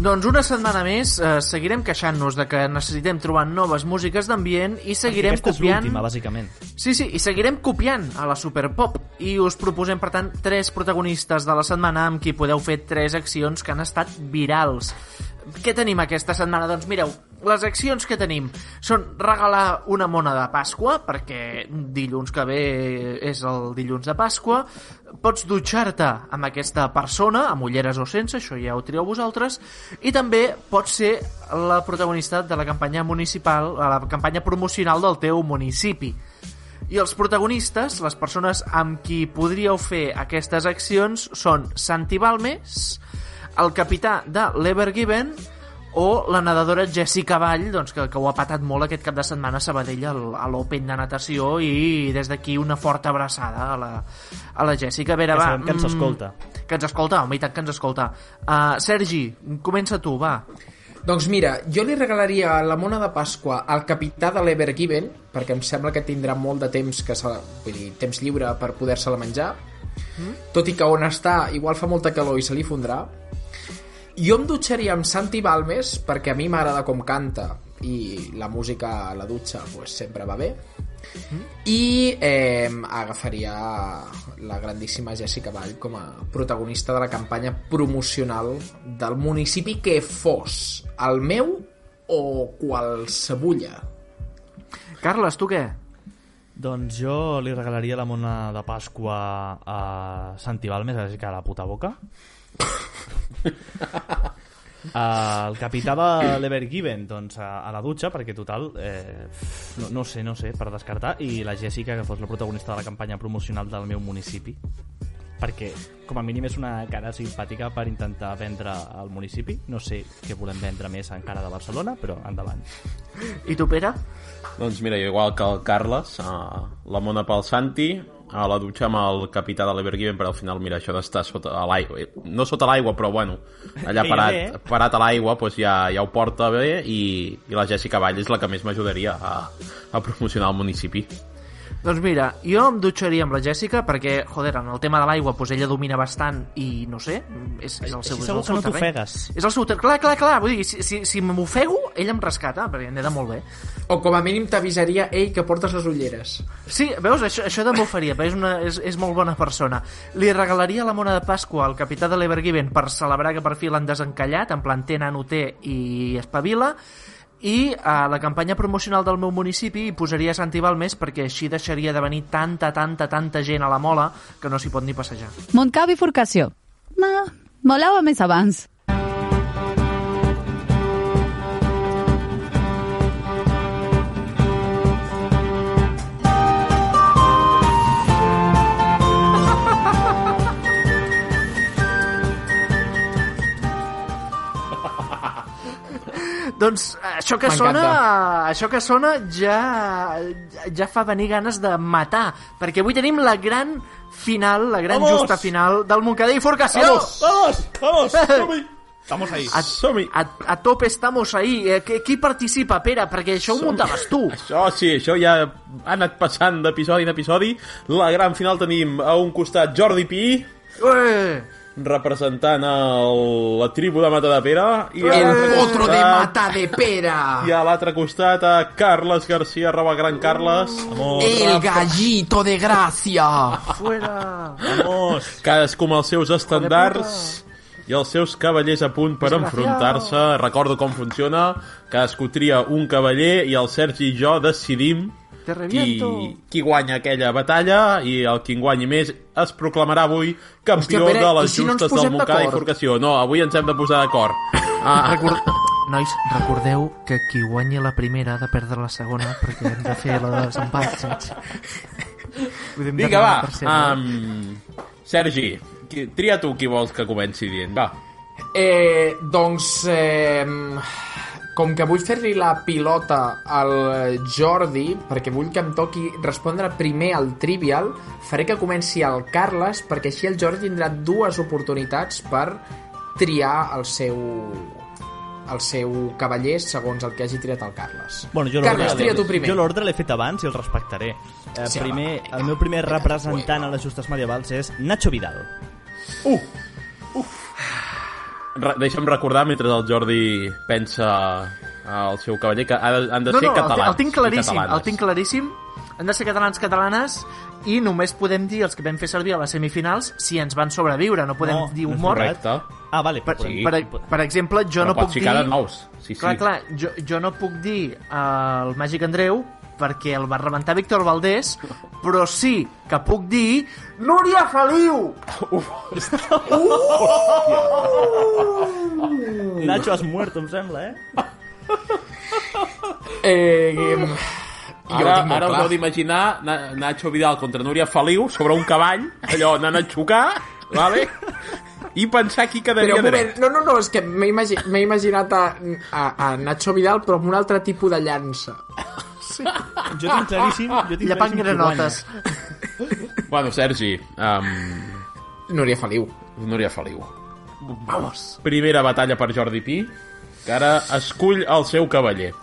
Speaker 2: Doncs una setmana més eh, seguirem queixant-nos de que necessitem trobar noves músiques d'ambient i seguirem
Speaker 4: Aquesta és
Speaker 2: copiant...
Speaker 4: l'última, bàsicament.
Speaker 2: Sí, sí, i seguirem copiant a la Superpop i us proposem, per tant, tres protagonistes de la setmana amb qui podeu fer tres accions que han estat virals. Què tenim aquesta setmana? Doncs mireu, les accions que tenim són regalar una mona de Pasqua, perquè dilluns que ve és el dilluns de Pasqua, pots dutxar-te amb aquesta persona, amb ulleres o sense, això ja ho trieu vosaltres, i també pots ser la protagonista de la campanya municipal, a la campanya promocional del teu municipi. I els protagonistes, les persones amb qui podríeu fer aquestes accions, són Santi Balmes, el capità de l'Evergiven o la nedadora Jessica Vall, doncs, que, que ho ha patat molt aquest cap de setmana a Sabadell al- a l'Open de natació i des d'aquí una forta abraçada a la, a la Jessica. A veure,
Speaker 4: Que
Speaker 2: va,
Speaker 4: sabem que ens
Speaker 2: mm,
Speaker 4: escolta.
Speaker 2: Que ens escolta, home, i tant que ens escolta. Uh, Sergi, comença tu, va.
Speaker 5: Doncs mira, jo li regalaria la mona de Pasqua al capità de l'Evergiven, perquè em sembla que tindrà molt de temps que se la, vull dir, temps lliure per poder-se-la menjar.
Speaker 2: Mm.
Speaker 5: Tot i que on està, igual fa molta calor i se li fondrà. Jo em dutxaria amb Santi Balmes, perquè a mi m'agrada com canta, i la música a la dutxa pues, sempre va bé. I eh, agafaria la grandíssima Jessica Vall com a protagonista de la campanya promocional del municipi que fos, el meu o qualsevulla.
Speaker 2: Carles, tu què?
Speaker 4: Doncs jo li regalaria la mona de Pasqua a Santi Balmes, així que a la puta boca. el capità de l'Evergiven doncs a, a la dutxa perquè total eh, no, no sé, no sé, per descartar i la Jessica que fos la protagonista de la campanya promocional del meu municipi perquè com a mínim és una cara simpàtica per intentar vendre al municipi. No sé què volem vendre més encara de Barcelona, però endavant.
Speaker 2: I tu, Pere?
Speaker 3: Doncs mira, igual que el Carles, eh, la mona pel Santi, a la dutxa amb el capità de l'Evergiven, però al final, mira, això d'estar sota l'aigua, eh, no sota l'aigua, però bueno, allà
Speaker 4: Gairebé, eh?
Speaker 3: parat, parat a l'aigua, doncs ja, ja ho porta bé i, i la Jessica Vall és la que més m'ajudaria a, a promocionar el municipi.
Speaker 2: Doncs mira, jo em dutxaria amb la Jèssica perquè, joder, en el tema de l'aigua pues, ella domina bastant i, no sé, és, és el
Speaker 4: Així
Speaker 2: seu, és
Speaker 4: segur
Speaker 2: el
Speaker 4: que
Speaker 2: seu
Speaker 4: no
Speaker 2: terreny.
Speaker 4: t'ofegues.
Speaker 2: És el seu terreny, clar, clar, clar, vull dir, si, si, si m'ofego, ella em rescata, perquè n'he de molt bé.
Speaker 5: O com a mínim t'avisaria, ei, que portes les ulleres.
Speaker 2: Sí, veus, això, això també ho faria, perquè és, una, és, és molt bona persona. Li regalaria la mona de Pasqua al capità de l'Evergiven per celebrar que per fi l'han desencallat, en plan té nano té i espavila, i a la campanya promocional del meu municipi hi posaria Santi Balmes perquè així deixaria de venir tanta, tanta, tanta gent a la mola que no s'hi pot ni passejar.
Speaker 10: Montcà bifurcació. Ma, molava més abans.
Speaker 2: Doncs això que
Speaker 5: M'encanta.
Speaker 2: sona, això que sona ja, ja fa venir ganes de matar, perquè avui tenim la gran final, la gran
Speaker 3: Vamos!
Speaker 2: justa final del Montcada i Forcació.
Speaker 3: Vamos, vamos, vamos, som-hi.
Speaker 2: Estamos
Speaker 3: ahí.
Speaker 2: A, a, a tope estamos ahí. Eh, qui, qui participa, Pere? Perquè això ho muntaves tu.
Speaker 3: Això sí, això ja ha anat passant d'episodi en episodi. La gran final tenim a un costat Jordi Pi,
Speaker 2: Ué.
Speaker 3: representant el, la tribu de Mata de Pere, i a
Speaker 5: El
Speaker 3: l'altre
Speaker 5: potro de
Speaker 3: costat-
Speaker 5: mata de pera.
Speaker 3: Ah. I a l'altre costat a Carles Garcia, arroba gran Carles.
Speaker 2: Uh.
Speaker 3: Amor,
Speaker 5: El gallito de gracia.
Speaker 2: Fuera.
Speaker 3: Vamos. Cadascú amb els seus estandards i els seus cavallers a punt per
Speaker 2: Desgraciado.
Speaker 3: enfrontar-se. Recordo com funciona. Cadascú tria un cavaller i el Sergi i jo decidim
Speaker 2: Te
Speaker 3: qui,
Speaker 2: reviento.
Speaker 3: qui guanya aquella batalla i el qui en guanyi més es proclamarà avui campió
Speaker 2: Pere,
Speaker 3: de
Speaker 2: i
Speaker 3: les
Speaker 2: si no ens
Speaker 3: justes del
Speaker 2: posem
Speaker 3: Montcada i
Speaker 2: d'acord?
Speaker 3: Forcació. No, avui ens hem de posar d'acord. Ah,
Speaker 2: Record... Nois, recordeu que qui guanyi la primera ha de perdre la segona perquè hem de fer la de desempat, saps? Vull dir, hem de
Speaker 3: Vinga,
Speaker 2: fer la
Speaker 3: va.
Speaker 2: tercera.
Speaker 3: Um, Sergi, qui- tria tu qui vols que comenci dient. Va.
Speaker 5: Eh, doncs, eh, com que vull fer-li la pilota al Jordi, perquè vull que em toqui respondre primer al Trivial, faré que comenci el Carles, perquè així el Jordi tindrà dues oportunitats per triar el seu el seu cavaller segons el que hagi triat el Carles.
Speaker 4: Bueno, jo
Speaker 5: Carles,
Speaker 4: l'ordre-
Speaker 5: tria tu primer.
Speaker 4: Jo l'ordre l'he fet abans i el respectaré. Eh,
Speaker 5: Sí,
Speaker 4: primer, el meu primer representant a les justes medievals és Nacho Vidal.
Speaker 3: Re deixa'm recordar, mentre el Jordi pensa al seu cavaller, que ha de, han de
Speaker 2: no,
Speaker 3: ser
Speaker 2: no, el-
Speaker 3: catalans.
Speaker 2: el tinc
Speaker 3: i
Speaker 2: claríssim,
Speaker 3: catalanes.
Speaker 2: el tinc claríssim. Han de ser catalans catalanes i només podem dir els que vam fer servir a les semifinals si ens van sobreviure, no podem dir
Speaker 3: no és
Speaker 2: humor.
Speaker 3: correcte.
Speaker 4: Ah, vale.
Speaker 2: Per,
Speaker 3: Sí.
Speaker 2: per, per exemple, jo
Speaker 3: Però
Speaker 2: no
Speaker 3: pots
Speaker 2: puc dir...
Speaker 3: ficar de nous. Sí, sí.
Speaker 2: Clar, clar, jo, jo no puc dir eh, el Màgic Andreu perquè el va rebentar Víctor Valdés, però sí que puc dir Núria Feliu!
Speaker 4: Nacho has muerto, em sembla, eh?
Speaker 5: Eh, eh,
Speaker 3: Ara,
Speaker 5: tinc molt
Speaker 3: ara us
Speaker 5: clar.
Speaker 3: heu d'imaginar Na Nacho Vidal contra Núria Feliu sobre un cavall, allò anant a xocar, vale? i pensar qui
Speaker 5: Però
Speaker 3: quedaria
Speaker 5: un moment,
Speaker 3: dret.
Speaker 5: no, no, no, és que m'he imagi m'he imaginat a, a, a Nacho Vidal però amb un altre tipus de llança.
Speaker 4: Jo tinc claríssim, jo tinc
Speaker 2: Llepant
Speaker 4: claríssim qui guanya.
Speaker 2: granotes.
Speaker 3: Bueno, Sergi, um,
Speaker 5: Núria Feliu.
Speaker 3: Núria Feliu. Vamos. Primera batalla per Jordi Pi, que ara escull el seu cavaller.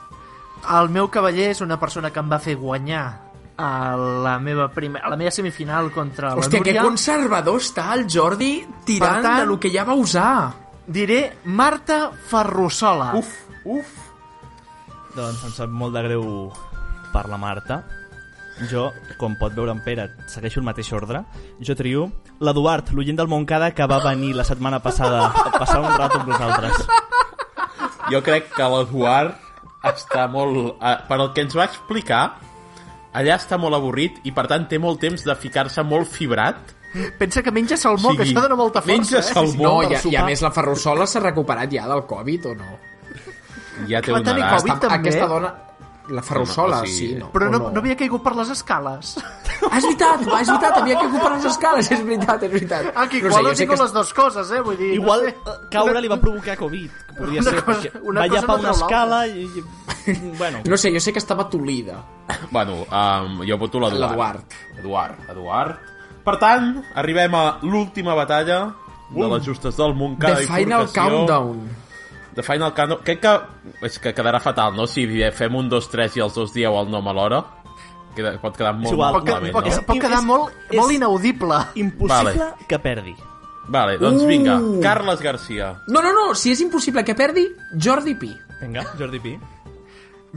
Speaker 2: El meu cavaller és una persona que em va fer guanyar a la meva, primer, a la meva semifinal contra la
Speaker 5: Hòstia, que
Speaker 2: Núria.
Speaker 5: conservador està el Jordi tirant
Speaker 2: Per tant-
Speaker 5: tant, de lo que ja va usar.
Speaker 2: Diré Marta Ferrusola.
Speaker 3: Uf, uf.
Speaker 4: Doncs em sap molt de greu per la Marta. Jo, com pot veure en Pere, segueixo el mateix ordre. Jo trio l'Eduard, l'oient del Montcada, que va venir la setmana passada a passar un rato amb vosaltres.
Speaker 3: Jo crec que l'Eduard està molt... eh, Per el que ens va explicar, allà està molt avorrit i, per tant, té molt temps de ficar-se molt fibrat.
Speaker 2: Pensa que menja salmó, que això dona molta força.
Speaker 3: Menja
Speaker 2: eh?
Speaker 3: salmó,
Speaker 5: No,
Speaker 3: per
Speaker 5: i, a, i a
Speaker 3: sopar.
Speaker 5: més la Ferrusola s'ha recuperat ja del Covid o no?
Speaker 3: ja té
Speaker 2: va
Speaker 3: una
Speaker 2: tenir
Speaker 3: edat.
Speaker 2: Covid, també?
Speaker 5: Aquesta dona... La Ferrusola,
Speaker 3: No, no, o
Speaker 5: sí,
Speaker 3: sigui-
Speaker 5: no.
Speaker 2: Però
Speaker 5: o
Speaker 2: no, no havia caigut per les escales.
Speaker 5: Ah, és veritat, va, és veritat, havia que comprar les escales, és veritat, és veritat.
Speaker 2: Aquí,
Speaker 5: sé,
Speaker 2: no Ah, igual
Speaker 5: jo
Speaker 2: ho
Speaker 5: sé
Speaker 2: dic
Speaker 5: que
Speaker 2: les dues coses, eh? Vull dir,
Speaker 4: Igual
Speaker 2: no sé.
Speaker 4: eh, caure li va provocar Covid, que podria
Speaker 2: Una
Speaker 4: ser,
Speaker 2: cosa-
Speaker 4: perquè
Speaker 2: una
Speaker 4: va
Speaker 2: cosa
Speaker 4: llapar
Speaker 2: no
Speaker 4: una
Speaker 2: treu l'altra.
Speaker 4: escala i... i- Bueno,
Speaker 5: No sé, jo sé que estava tolida.
Speaker 3: Bueno, um, jo voto l'Eduard.
Speaker 5: L'Eduard.
Speaker 3: Eduard, Eduard. Per tant, arribem a l'última batalla de
Speaker 5: Um.
Speaker 3: les justes del Montcada
Speaker 5: The
Speaker 3: i
Speaker 5: Final
Speaker 3: Forcació.
Speaker 5: Countdown.
Speaker 3: The Final Countdown. Crec que, és que quedarà fatal, no? Si fem un, dos, tres i els dos dieu el nom alhora. Queda, pot quedar molt
Speaker 4: igual.
Speaker 3: molt malament,
Speaker 2: pot,
Speaker 3: no?
Speaker 2: pot quedar molt, molt inaudible.
Speaker 4: Impossible
Speaker 3: Vale.
Speaker 4: que perdi.
Speaker 3: Vale, doncs
Speaker 5: Uh.
Speaker 3: vinga. Carles Garcia.
Speaker 5: No, no, no, si és impossible que perdi, Jordi Pi.
Speaker 4: Vinga, Jordi Pi.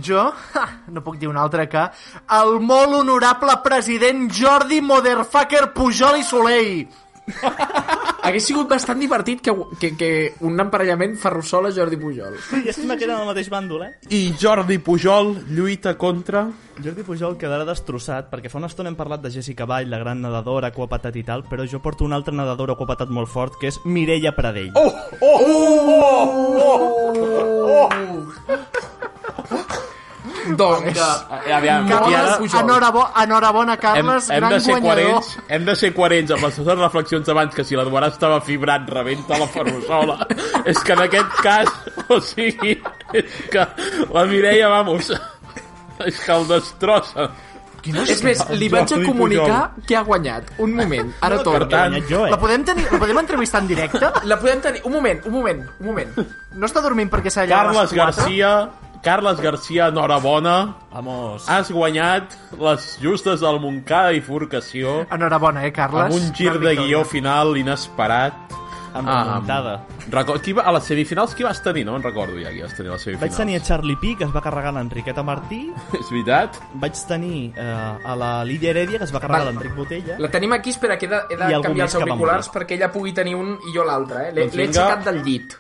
Speaker 2: Jo ja, no puc dir un altre que el molt honorable president Jordi Motherfucker Pujol i Soleil.
Speaker 5: Hagués sigut bastant divertit que, que, que un emparellament Ferrusola Jordi Pujol.
Speaker 4: I estima que eren el mateix bàndol, eh?
Speaker 3: I Jordi Pujol lluita contra...
Speaker 4: Jordi Pujol quedarà destrossat perquè fa una estona hem parlat de Jessica Vall, la gran nedadora, aquapatat i tal, però jo porto una altra nedadora aquapatat molt fort que és Mireia Pradell.
Speaker 5: Oh! Oh! Oh! oh, oh. Doncs...
Speaker 3: Eh, aviam, i ara-
Speaker 2: Carles, enhorabona, enhorabona, Carles,
Speaker 3: hem, hem
Speaker 2: gran
Speaker 3: de ser
Speaker 2: guanyador.
Speaker 3: coherents, hem de ser coherents amb les seves reflexions abans que si l'Eduard estava fibrant rebenta la ferrusola és que en aquest cas o sigui, és que la Mireia, vamos és que el destrossa
Speaker 5: És més, li vaig a
Speaker 3: Jordi
Speaker 5: comunicar que ha guanyat. Un moment, ara
Speaker 3: No,
Speaker 5: torno.
Speaker 3: per tant, He guanyat jo, eh?
Speaker 2: La podem, tenir, la podem entrevistar en directe?
Speaker 5: La podem tenir... Un moment, un moment, un moment.
Speaker 2: No està dormint perquè s'ha
Speaker 3: Pujol.
Speaker 2: llevat a les
Speaker 3: Carles
Speaker 2: 4?
Speaker 3: Garcia Carles Garcia, enhorabona
Speaker 4: Vamos.
Speaker 3: has guanyat les justes del Montcada i Forcació
Speaker 2: Enhorabona, eh, Carles?
Speaker 3: amb un gir
Speaker 2: Gran
Speaker 3: de
Speaker 2: victòria.
Speaker 3: guió final inesperat
Speaker 4: Amb
Speaker 3: Ah,
Speaker 4: remuntada.
Speaker 3: record, qui va, a les semifinals qui vas tenir? No me'n recordo ja qui vas tenir a les
Speaker 4: Vaig
Speaker 3: semifinals
Speaker 4: tenir a Charlie P, que es va carregar l'Enriqueta Martí.
Speaker 3: és veritat?
Speaker 4: Vaig tenir eh, a la Lídia Heredia, que es va carregar
Speaker 5: Vale.
Speaker 4: l'Enric Botella.
Speaker 5: La tenim aquí, espera, que he de, he
Speaker 4: I
Speaker 5: de
Speaker 4: algú
Speaker 5: canviar
Speaker 4: més
Speaker 5: els
Speaker 4: que va
Speaker 5: auriculars
Speaker 4: morir.
Speaker 5: perquè ella pugui tenir un i jo l'altre, eh? L'he
Speaker 3: Doncs
Speaker 5: l'he
Speaker 3: vinga.
Speaker 5: aixecat del llit.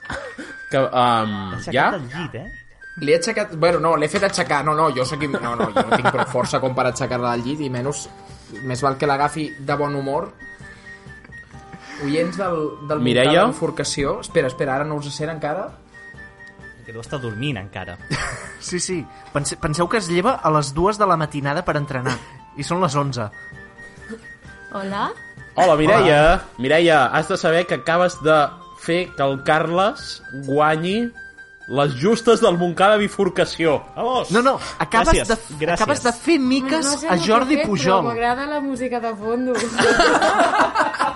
Speaker 3: Que, um, ja?
Speaker 4: Aixecat del llit, eh?
Speaker 5: L'he aixecat... Bueno, no, l'he fet aixecar. No, no, jo sóc... im- No, no, jo no tinc prou força com per aixecar-la del llit i menys... Més val que l'agafi de bon humor. Oients del, del
Speaker 3: Mireia?
Speaker 5: voltant de l'enforcació... Espera, espera, ara no us sent encara?
Speaker 4: Que deu estar dormint encara.
Speaker 2: Sí, sí. Pense, penseu que es lleva a les dues de la matinada per entrenar. I són les 11.
Speaker 8: Hola?
Speaker 3: Hola, Mireia. Mireia, has de saber que acabes de fer que el Carles guanyi les justes del Montcada Bifurcació.
Speaker 4: Vamos!
Speaker 2: No, no, acabes,
Speaker 4: Gràcies,
Speaker 2: de,
Speaker 4: gràcies.
Speaker 2: acabes de fer miques
Speaker 13: No sé
Speaker 2: a
Speaker 13: el que
Speaker 2: Jordi
Speaker 13: he fet, però
Speaker 2: Pujol.
Speaker 13: M'agrada la música de fondo.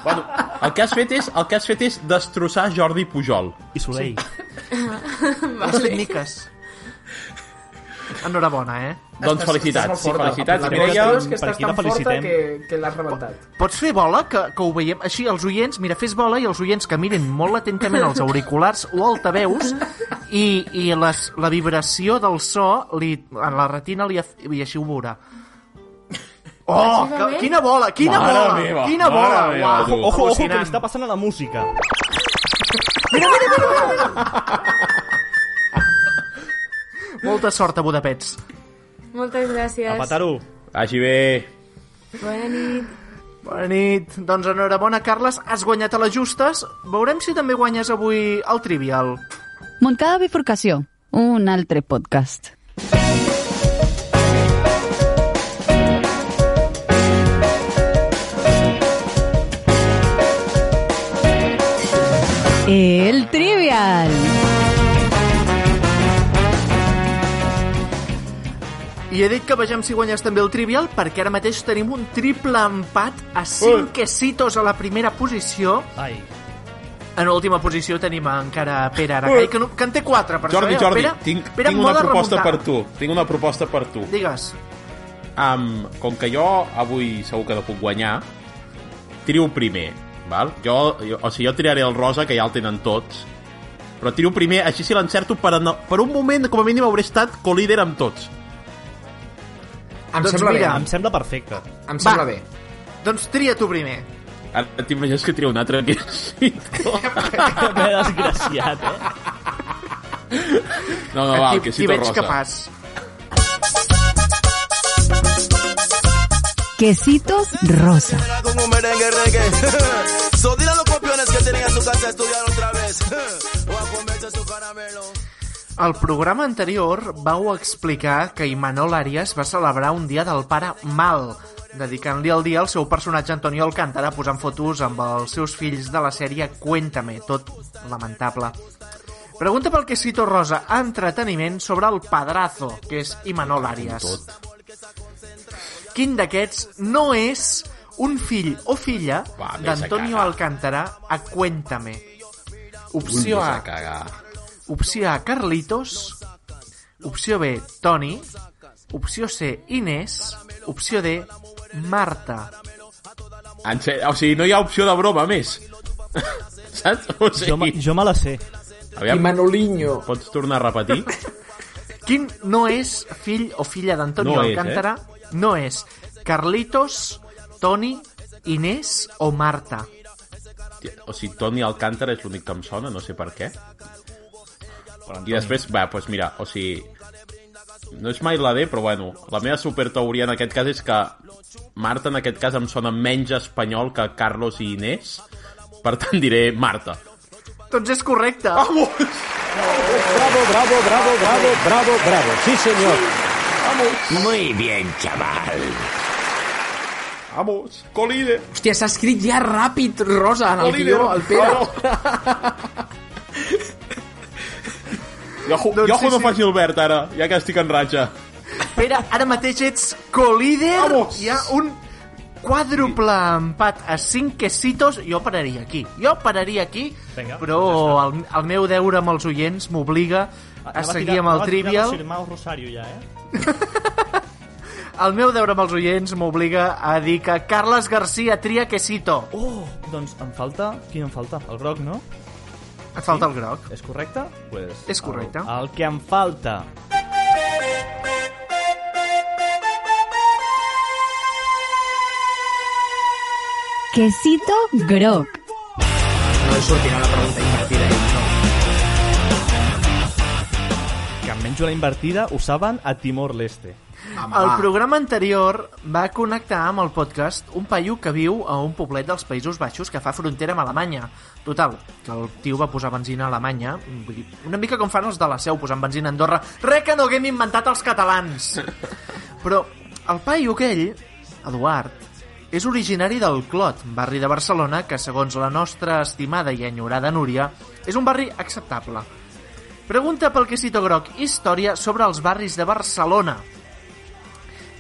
Speaker 3: Bueno, el que has fet és, el que has fet és destrossar Jordi Pujol.
Speaker 4: I Soleil.
Speaker 2: Has fet miques. Enhorabona, eh?
Speaker 3: Doncs felicitats, sí, felicitats,
Speaker 5: La
Speaker 3: Mireia.
Speaker 5: veritat és que
Speaker 4: per
Speaker 5: estàs
Speaker 4: aquí la
Speaker 5: tan forta
Speaker 4: felicitem.
Speaker 5: que, que l'has rebentat.
Speaker 2: Pots fer bola, que, que ho veiem així, els oients, mira, fes bola i els oients que miren molt atentament els auriculars o altaveus i, i les, la vibració del so li, en la retina li, af- i així ho veurà. Oh, que, quina bola, quina
Speaker 3: Mare
Speaker 2: bola,
Speaker 3: meva,
Speaker 2: quina
Speaker 3: mare
Speaker 2: bola.
Speaker 3: meva,
Speaker 2: uau,
Speaker 3: tu.
Speaker 4: Ojo, ojo, que li
Speaker 2: al·lucinant.
Speaker 4: està passant a la música.
Speaker 2: Molta sort a Budapest.
Speaker 13: Moltes gràcies.
Speaker 4: A petar-ho.
Speaker 3: Vagi bé.
Speaker 13: Bona nit.
Speaker 2: Bona nit. Doncs enhorabona, Carles. Has guanyat a les justes. Veurem si també guanyes avui el Trivial.
Speaker 10: Montcada Bifurcació, un altre podcast. El Trivial.
Speaker 2: I he dit que vegem si guanyes també el Trivial, perquè ara mateix tenim un triple empat a 5 quesitos a la primera posició.
Speaker 4: Ai,
Speaker 2: En l'última posició tenim encara Pere Aracai, que, no, que en té 4. Per
Speaker 3: Jordi,
Speaker 2: això, eh?
Speaker 3: Jordi,
Speaker 2: Pere,
Speaker 3: tinc,
Speaker 2: Pere
Speaker 3: tinc una
Speaker 2: moda
Speaker 3: proposta per
Speaker 2: remuntada.
Speaker 3: tu. Tinc una proposta per tu.
Speaker 2: Digues.
Speaker 3: Um, com que jo avui segur que no puc guanyar, trio primer, val? Jo, jo, o sigui, jo triaré el rosa, que ja el tenen tots, però trio primer, així si l'encerto, per, en- per un moment, com a mínim, hauré estat co-líder amb tots.
Speaker 5: Em
Speaker 2: Doncs
Speaker 5: sembla
Speaker 2: mira,
Speaker 5: bé,
Speaker 4: em sembla perfecte.
Speaker 5: em, em sembla
Speaker 2: va.
Speaker 5: bé.
Speaker 2: Doncs tria tu primer.
Speaker 3: Ara t'imagines que trio un altre que sí.
Speaker 4: Que desgraciat, eh?
Speaker 3: No, no, va, el
Speaker 2: T'hi-
Speaker 3: que
Speaker 2: t'hi
Speaker 3: sí
Speaker 2: veig
Speaker 3: rosa.
Speaker 2: capaç.
Speaker 10: Quesitos Rosa.
Speaker 6: Como merengue reggae. So dile a los copiones que tienen en su casa a estudiar otra vez. O a comerse su caramelo.
Speaker 2: Al programa anterior vau explicar que Imanol Arias va celebrar un dia del pare mal, dedicant-li el dia al seu personatge Antonio Alcántara posant fotos amb els seus fills de la sèrie Cuéntame, tot lamentable. Pregunta pel que cito Rosa, entreteniment sobre el padrazo, que és Imanol Arias. Quin d'aquests no és un fill o filla
Speaker 3: Va, vés a
Speaker 2: d'Antonio
Speaker 3: cagar.
Speaker 2: Alcántara a Cuéntame? Opció
Speaker 3: Vull
Speaker 2: A,
Speaker 3: vés cagar.
Speaker 2: Opció A, Carlitos. Opció B, Toni. Opció C, Inés. Opció D, Marta.
Speaker 3: En ser... O sigui, no hi ha opció de broma més. Saps? O sigui...
Speaker 4: Jo, me- jo me la sé.
Speaker 3: Aviam.
Speaker 2: I Manoliño.
Speaker 3: Pots tornar a repetir?
Speaker 2: Quin no és fill o filla d'Antonio
Speaker 3: No és, eh?
Speaker 2: Alcántara? No és. Carlitos, Toni, Inés o Marta?
Speaker 3: O sigui, Toni Alcántara és l'únic que em sona, no sé per què. I després, va, doncs mira, o sigui... No és mai la D, però bueno, la meva superteoria en aquest cas és que Marta en aquest cas em sona menys espanyol que Carlos i Inés, per tant diré Marta.
Speaker 2: Doncs és correcte. Vamos!
Speaker 14: Bravo, bravo, bravo, bravo, bravo, bravo. Sí, señor.
Speaker 15: Muy bien, chaval.
Speaker 3: Vamos, colide.
Speaker 5: Hòstia, s'ha escrit ja ràpid, Rosa, en el
Speaker 2: Oliver,
Speaker 5: guió, el Pere.
Speaker 3: Jo, doncs jo sí, no faci el verd ara, ja que estic en ratxa.
Speaker 2: Pere, ara mateix ets co-líder. Hi ha un quàdruple empat a 5 quesitos. Jo pararia aquí. Jo pararia aquí,
Speaker 4: Vinga,
Speaker 2: però el, el meu deure amb els oients m'obliga a
Speaker 4: Anava Ah, tirar-
Speaker 2: seguir Ah, amb el
Speaker 4: anava a tirar
Speaker 2: Trivial.
Speaker 4: los Irmãos Rosario ja, eh?
Speaker 2: El meu deure amb els oients m'obliga a dir que Carles Garcia tria quesito.
Speaker 4: Oh, doncs em falta...
Speaker 5: Ah,
Speaker 4: Quin em falta? El groc, no?
Speaker 2: Et falta el groc.
Speaker 4: És correcte? Pues
Speaker 2: És correcte.
Speaker 4: El, el que em falta...
Speaker 10: Quesito groc.
Speaker 5: No sortirà la pregunta invertida. eh,
Speaker 4: Que em menjo la invertida ho saben a Timor-Leste.
Speaker 2: El programa anterior va connectar amb el podcast un paio que viu a un poblet dels Països Baixos que fa frontera amb Alemanya. Total, que el tio va posar benzina a Alemanya, vull dir, una mica com fan els de la Seu posant benzina a Andorra. Re que no haguem inventat els catalans! Però el paio aquell, Eduard, és originari del Clot, barri de Barcelona que, segons la nostra estimada i enyorada Núria, és un barri acceptable. Pregunta pel Quesito Groc, història sobre els barris de Barcelona.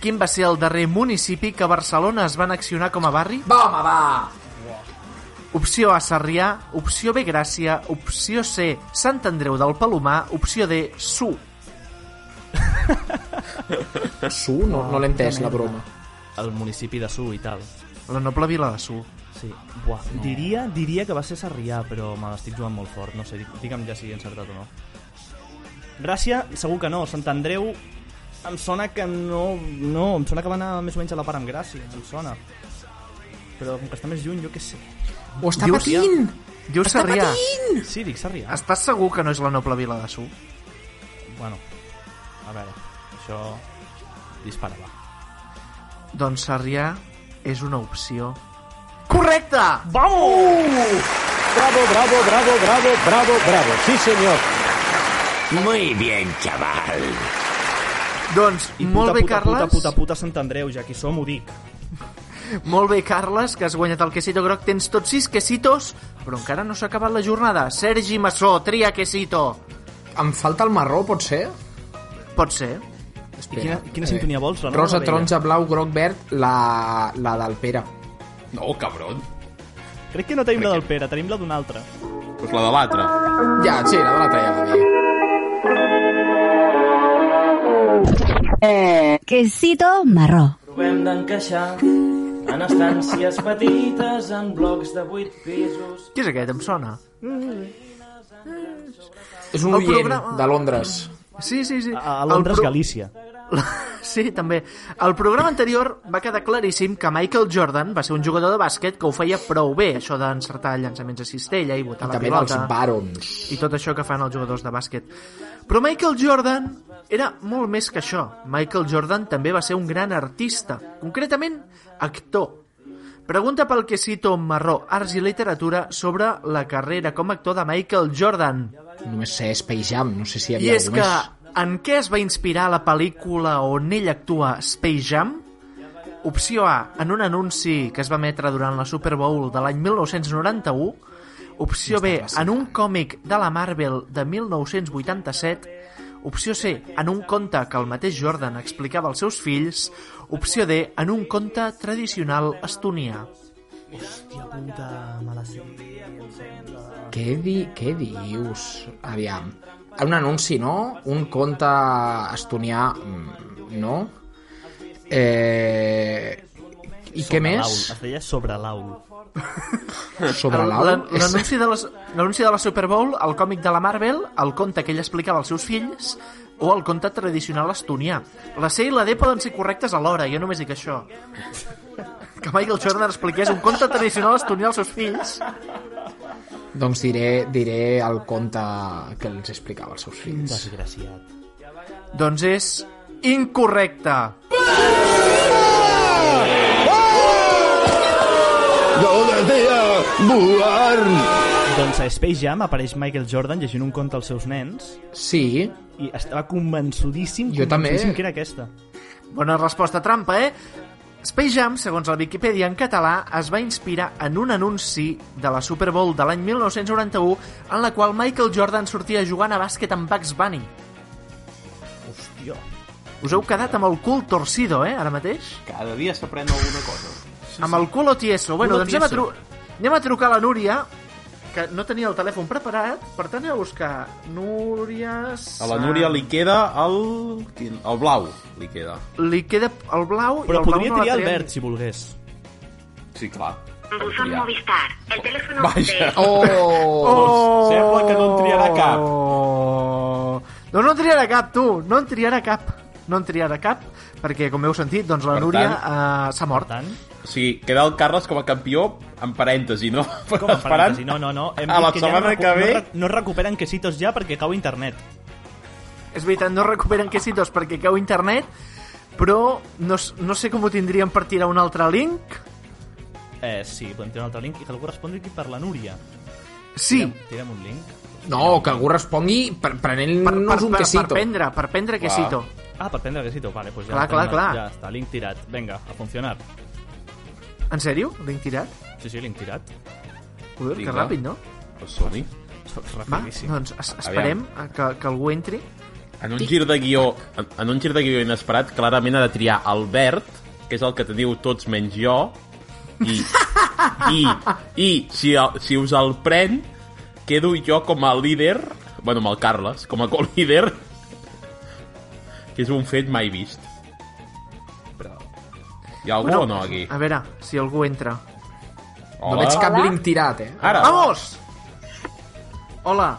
Speaker 2: Quin va ser el darrer municipi que Barcelona es va anaccionar com a barri? Va, home, va! Opció A, Sarrià. Opció B, Gràcia. Opció C, Sant Andreu del Palomar. Opció D, Su.
Speaker 5: Su? No, no l'he entès, la broma.
Speaker 4: El municipi de Su i tal.
Speaker 2: La noble vila de Su.
Speaker 4: Sí. Buah, no. diria, diria que va ser Sarrià, però me l'estic jugant molt fort. No sé, di- digue'm ja si he encertat o no. Gràcia, segur que no. Sant Andreu, em sona que no... No, em sona que va anar més o menys a la part amb Gràcia, em sona. Però com que està més lluny, jo què sé.
Speaker 5: Ho està Diu- patint!
Speaker 2: Diu
Speaker 4: Està
Speaker 2: Sarrià.
Speaker 4: patint! Sí, dic Sarrià.
Speaker 2: Estàs segur que no és la noble vila de Su?
Speaker 4: Bueno, a veure, això... Dispara, va.
Speaker 2: Doncs Sarrià és una opció. Correcte!
Speaker 14: Vamos! Uh. Bravo, bravo, bravo, bravo, bravo, bravo. Sí, señor.
Speaker 15: Muy bien, chaval.
Speaker 2: Doncs,
Speaker 4: I puta,
Speaker 2: molt bé,
Speaker 4: puta,
Speaker 2: Carles.
Speaker 4: Puta, puta, puta, Sant Andreu, ja que hi som, ho dic.
Speaker 2: Molt bé, Carles, que has guanyat el quesito groc. Tens tots sis quesitos, però encara no s'ha acabat la jornada. Sergi Massó, tria quesito.
Speaker 5: Em falta el marró, pot ser?
Speaker 2: Pot ser.
Speaker 5: Espera. eh,
Speaker 4: I quina- quina sintonia vols, la nova o
Speaker 5: Rosa,
Speaker 4: la vella?
Speaker 5: taronja, blau, groc, verd, la, la del Pere.
Speaker 3: No, cabron.
Speaker 4: Crec que no tenim la del Pere, tenim la d'un altre.
Speaker 3: Pues Doncs la de l'altre.
Speaker 5: Ja, sí, la de la talla.
Speaker 10: Eh, quesito marró.
Speaker 16: Provem d'encaixar en estàncies petites, en blocs de 8 pisos.
Speaker 2: Qui és aquest? Em sona.
Speaker 4: Mm.
Speaker 5: És un
Speaker 2: El
Speaker 5: oient
Speaker 2: programa-
Speaker 5: de Londres.
Speaker 2: Sí, sí, sí.
Speaker 4: A, a Londres,
Speaker 2: El pro-
Speaker 4: Galícia.
Speaker 2: Sí, també. El programa anterior va quedar claríssim que Michael Jordan va ser un jugador de bàsquet que ho feia prou bé, això d'encertar llançaments a cistella i botar
Speaker 5: I
Speaker 2: la
Speaker 5: també dels
Speaker 2: pilota.
Speaker 5: barons.
Speaker 2: I tot això que fan els jugadors de bàsquet. Però Michael Jordan era molt més que això. Michael Jordan també va ser un gran artista, concretament actor. Pregunta pel que cito marró, arts i literatura sobre la carrera com a actor de Michael Jordan.
Speaker 5: Només sé Space Jam, no sé si hi
Speaker 2: I
Speaker 5: havia
Speaker 2: és
Speaker 5: algú
Speaker 2: que
Speaker 5: més.
Speaker 2: en què es va inspirar la pel·lícula on ell actua Space Jam? Opció A, en un anunci que es va emetre durant la Super Bowl de l'any 1991. Opció B, en un còmic de la Marvel de 1987. Opció C, en un conte que el mateix Jordan explicava als seus fills. Opció D, en un conte tradicional estonià.
Speaker 4: Hòstia puta, me la sé.
Speaker 5: Què, di... Què dius? Aviam. Un anunci, no? Un conte estonià, mm, no? Eh... I què més?
Speaker 4: Es deia sobre l'aul.
Speaker 5: Sobre l'au?
Speaker 2: L'an- L'anunci de, les- l'anunci de la Super Bowl, el còmic de la Marvel, el conte que ell explicava als seus fills o el conte tradicional estonià. La C i la D poden ser correctes alhora, jo només dic això. Que Michael Jordan expliqués un conte tradicional estonià als seus fills.
Speaker 5: Doncs diré, diré el conte que els explicava als seus fills.
Speaker 4: Desgraciat.
Speaker 2: Doncs és incorrecte.
Speaker 4: Doncs a Space Jam apareix Michael Jordan llegint un conte als seus nens.
Speaker 5: Sí.
Speaker 4: I estava convençudíssim,
Speaker 2: Jo també.
Speaker 4: convençudíssim que era aquesta.
Speaker 2: Bona resposta trampa, eh? Space Jam, segons la Viquipèdia en català, es va inspirar en un anunci de la Super Bowl de l'any 1991 en la qual Michael Jordan sortia jugant a bàsquet amb Bugs Bunny.
Speaker 4: Hòstia.
Speaker 2: Us heu quedat amb el cul torcido, eh, ara mateix?
Speaker 3: Cada dia s'aprèn alguna cosa.
Speaker 2: Sí, amb el culo tieso. Bueno,
Speaker 3: Culo
Speaker 2: doncs anem a,
Speaker 3: tieso.
Speaker 2: tru anem a trucar a la Núria, que no tenia el telèfon preparat, per tant anem a buscar Núria...
Speaker 3: A la Núria li queda el... el blau, li queda.
Speaker 2: Li queda el blau... i
Speaker 4: Però
Speaker 2: el blau
Speaker 4: podria
Speaker 2: no la
Speaker 4: triar el
Speaker 2: traiem.
Speaker 4: verd, si volgués.
Speaker 3: Sí, clar.
Speaker 1: Buzón
Speaker 4: Ja.
Speaker 1: Movistar. El teléfono
Speaker 4: Vaja.
Speaker 1: de...
Speaker 2: Oh!
Speaker 3: Sembla que no en triarà cap.
Speaker 2: No, no en triarà cap, tu. No en triarà cap. No en triarà cap, perquè, com heu sentit, doncs la
Speaker 3: Per
Speaker 2: Núria
Speaker 3: tant-
Speaker 2: eh, s'ha mort.
Speaker 3: O sigui, queda el Carles com a campió, en parèntesi, no?
Speaker 4: Com a parèntesi, no, no, no. Hem
Speaker 3: a
Speaker 4: dit
Speaker 3: Ah, la
Speaker 4: ja no
Speaker 3: setmana
Speaker 4: recu-
Speaker 3: que ve...
Speaker 4: No, re- no recuperen quesitos ja perquè cau internet.
Speaker 2: És veritat, no recuperen quesitos perquè cau internet, però no, s- no sé com ho tindríem per tirar un altre link.
Speaker 4: Eh, sí, podem tirar un altre link i que algú respongui aquí per la Núria.
Speaker 2: Sí.
Speaker 4: Tirem, tirem un link.
Speaker 5: No, que algú respongui pre-
Speaker 4: Per-
Speaker 5: prenent-nos
Speaker 4: per-
Speaker 5: un
Speaker 4: per-
Speaker 5: quesito.
Speaker 4: per prendre,
Speaker 2: per prendre
Speaker 4: Clar. Ah, per prendre quesito, vale, pues ja
Speaker 2: Clar,
Speaker 4: el tenim,
Speaker 2: clar, clar.
Speaker 4: Ja està, link tirat. Vinga, a funcionar.
Speaker 2: En sèrio? Link tirat?
Speaker 4: Sí, sí, link tirat.
Speaker 2: Joder, que ràpid, no?
Speaker 3: Pues som-hi.
Speaker 2: Va, doncs es esperem a que, que algú entri.
Speaker 3: En un gir de guió, en, en un gir de guió inesperat, clarament ha de triar el verd, que és el que teniu tots menys jo, i, i, i si, el- si us el pren, quedo jo com a líder, bueno, amb el Carles, com a co-líder, que és un fet mai vist. Però... Hi ha algú
Speaker 2: Bueno,
Speaker 3: o no, aquí?
Speaker 2: A veure, si algú entra.
Speaker 3: Hola? veig cap link
Speaker 5: tirat, eh?
Speaker 3: Ara.
Speaker 2: Vamos! Hola.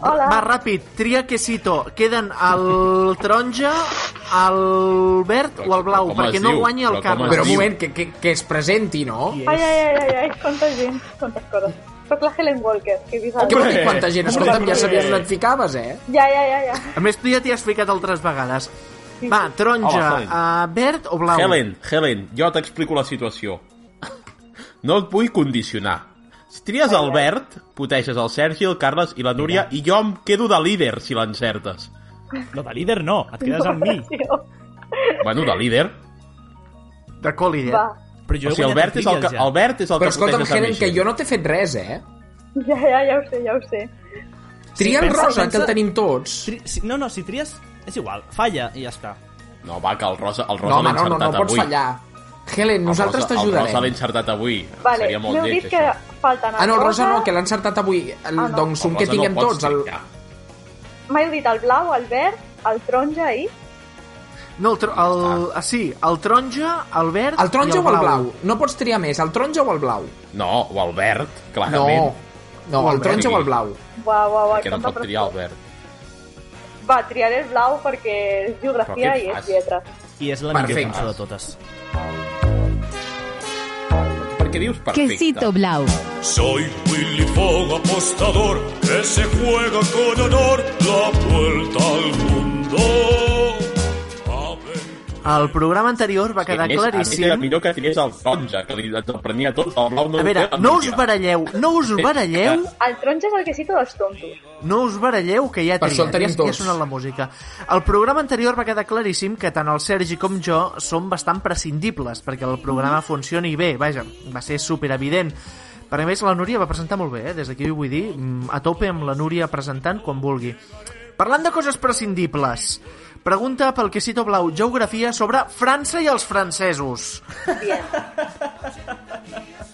Speaker 2: Hola. Va, ràpid, tria quesito. Queden el taronja, el verd o el blau,
Speaker 5: Com
Speaker 2: perquè
Speaker 5: es
Speaker 2: no
Speaker 5: diu?
Speaker 2: guanyi el Carles.
Speaker 5: Però un moment, que, que, que es presenti, no?
Speaker 17: Ay, ay, ay, ay, ay, cuánta gente, cuántas cosas. Soc la Helen Walker, que vist
Speaker 5: Que vol dir quanta gent? Escolta'm, ja sabies on et ficaves, eh?
Speaker 17: Ja, ja, ja, ja.
Speaker 2: A més, tu ja t'hi has ficat altres vegades. Va, taronja,
Speaker 3: Hola, Helen.
Speaker 2: uh, verd o blau?
Speaker 3: Helen, Helen, jo t'explico la situació. No et vull condicionar. Si tries el verd, puteixes el Sergi, el Carles i la Núria i jo em quedo de líder si l'encertes.
Speaker 4: No, de líder no, et quedes amb mi.
Speaker 3: Bueno, de líder.
Speaker 2: De co-líder.
Speaker 4: Però
Speaker 3: o sigui, el verd és el que, el verd és el
Speaker 5: Però
Speaker 3: que
Speaker 5: escolta'm,
Speaker 3: puteixes a
Speaker 5: Helen,
Speaker 3: mi.
Speaker 5: que jo no t'he fet res, eh?
Speaker 17: Ja, ja, ja ho sé, ja ho sé.
Speaker 5: Tria el rosa, que el tenim tots.
Speaker 4: Tri... Si... No, no, si tries... És igual, falla i ja està.
Speaker 3: No, va, que el Rosa, el
Speaker 5: No,
Speaker 3: Rosa
Speaker 5: home, no,
Speaker 3: l'ha
Speaker 5: no,
Speaker 3: encertat
Speaker 5: no pots
Speaker 3: avui.
Speaker 5: fallar. Helen, nosaltres
Speaker 3: El Rosa- El Rosa l'ha
Speaker 5: t'ajudarem.
Speaker 3: encertat avui.
Speaker 17: Vale,
Speaker 3: Seria molt
Speaker 17: m'heu
Speaker 3: lleig,
Speaker 17: dit que
Speaker 3: això.
Speaker 17: falten el
Speaker 5: Ah, no, el rosa no, que l'han encertat avui. El,
Speaker 17: Ah, no.
Speaker 5: Doncs un
Speaker 3: El
Speaker 5: que
Speaker 3: rosa no
Speaker 5: tinguem
Speaker 3: pots
Speaker 5: tots. El...
Speaker 17: M'heu dit el blau, el verd, el taronja i...
Speaker 2: No, el, tro- el, ah, sí, el taronja, el verd
Speaker 5: El
Speaker 2: i
Speaker 5: taronja o
Speaker 2: el
Speaker 5: el
Speaker 2: blau.
Speaker 5: blau? No pots triar més, el taronja o el blau?
Speaker 3: No, o el verd,
Speaker 5: No,
Speaker 3: clarament.
Speaker 5: no, el taronja o el blau?
Speaker 17: Uau, uau, uau.
Speaker 3: Que no
Speaker 17: quanta
Speaker 3: pot triar el verd.
Speaker 17: pressió. Va, triaré el blau perquè és
Speaker 4: Però
Speaker 17: geografia
Speaker 4: què
Speaker 17: i és
Speaker 4: fas?
Speaker 17: lletres.
Speaker 4: I és la
Speaker 3: Perfecte.
Speaker 4: millor cançó de totes.
Speaker 3: Per què dius perfecte?
Speaker 10: Quesito blau.
Speaker 18: Soy Willy Fogg, apostador, que se juega con honor la vuelta al mundo. Aventura.
Speaker 2: El programa anterior va quedar
Speaker 3: Més, a més, Era
Speaker 2: claríssim...
Speaker 3: millor que tingués el taronja, que li ens el prenia tot, el blau no
Speaker 2: A veure, no us baralleu, no us baralleu,
Speaker 17: El taronja és el que cita dels tontos.
Speaker 2: no us baralleu, que ja
Speaker 5: Per això el
Speaker 2: triem,
Speaker 5: tenim
Speaker 2: ja, ja ha
Speaker 5: tots.
Speaker 2: sonat la música. El programa anterior va quedar claríssim que tant el Sergi com jo som bastant prescindibles perquè el
Speaker 5: Mm-hmm.
Speaker 2: programa funcioni bé, vaja, va ser superevident. Per a més, la Núria va presentar molt bé, eh? des d'aquí ho vull dir, mm, a tope amb la Núria presentant quan vulgui. Parlant de coses prescindibles, pregunta pel que cito blau, geografia sobre França i els francesos.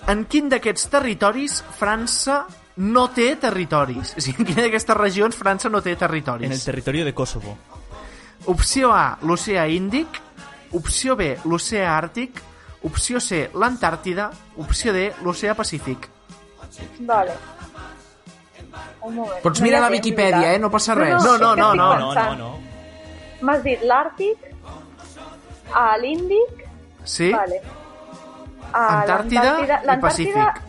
Speaker 2: En quin d'aquests territoris França no té territoris? O sigui, en quina d'aquestes regions França no té territoris?
Speaker 4: En el territorio de Kosovo.
Speaker 2: Opció A, l'oceà Índic. Opció B, l'oceà Àrtic. Opció C, l'Antàrtida. Opció D, l'oceà Pacífic.
Speaker 17: Vale. Un moment.
Speaker 2: Pots
Speaker 17: No hi
Speaker 2: mirar
Speaker 17: ha
Speaker 2: la
Speaker 17: temps,
Speaker 2: Viquipèdia,
Speaker 17: mirar.
Speaker 2: eh? No passa res.
Speaker 17: és
Speaker 2: No, no,
Speaker 17: que
Speaker 2: no,
Speaker 17: estic
Speaker 2: no.
Speaker 17: pensant.
Speaker 4: no.
Speaker 17: M'has dit l'Àrtic, a l'Índic...
Speaker 2: Sí?
Speaker 17: Vale. A
Speaker 2: Antàrtida
Speaker 17: l'Antàrtida-
Speaker 2: i
Speaker 17: l'Antàrtida-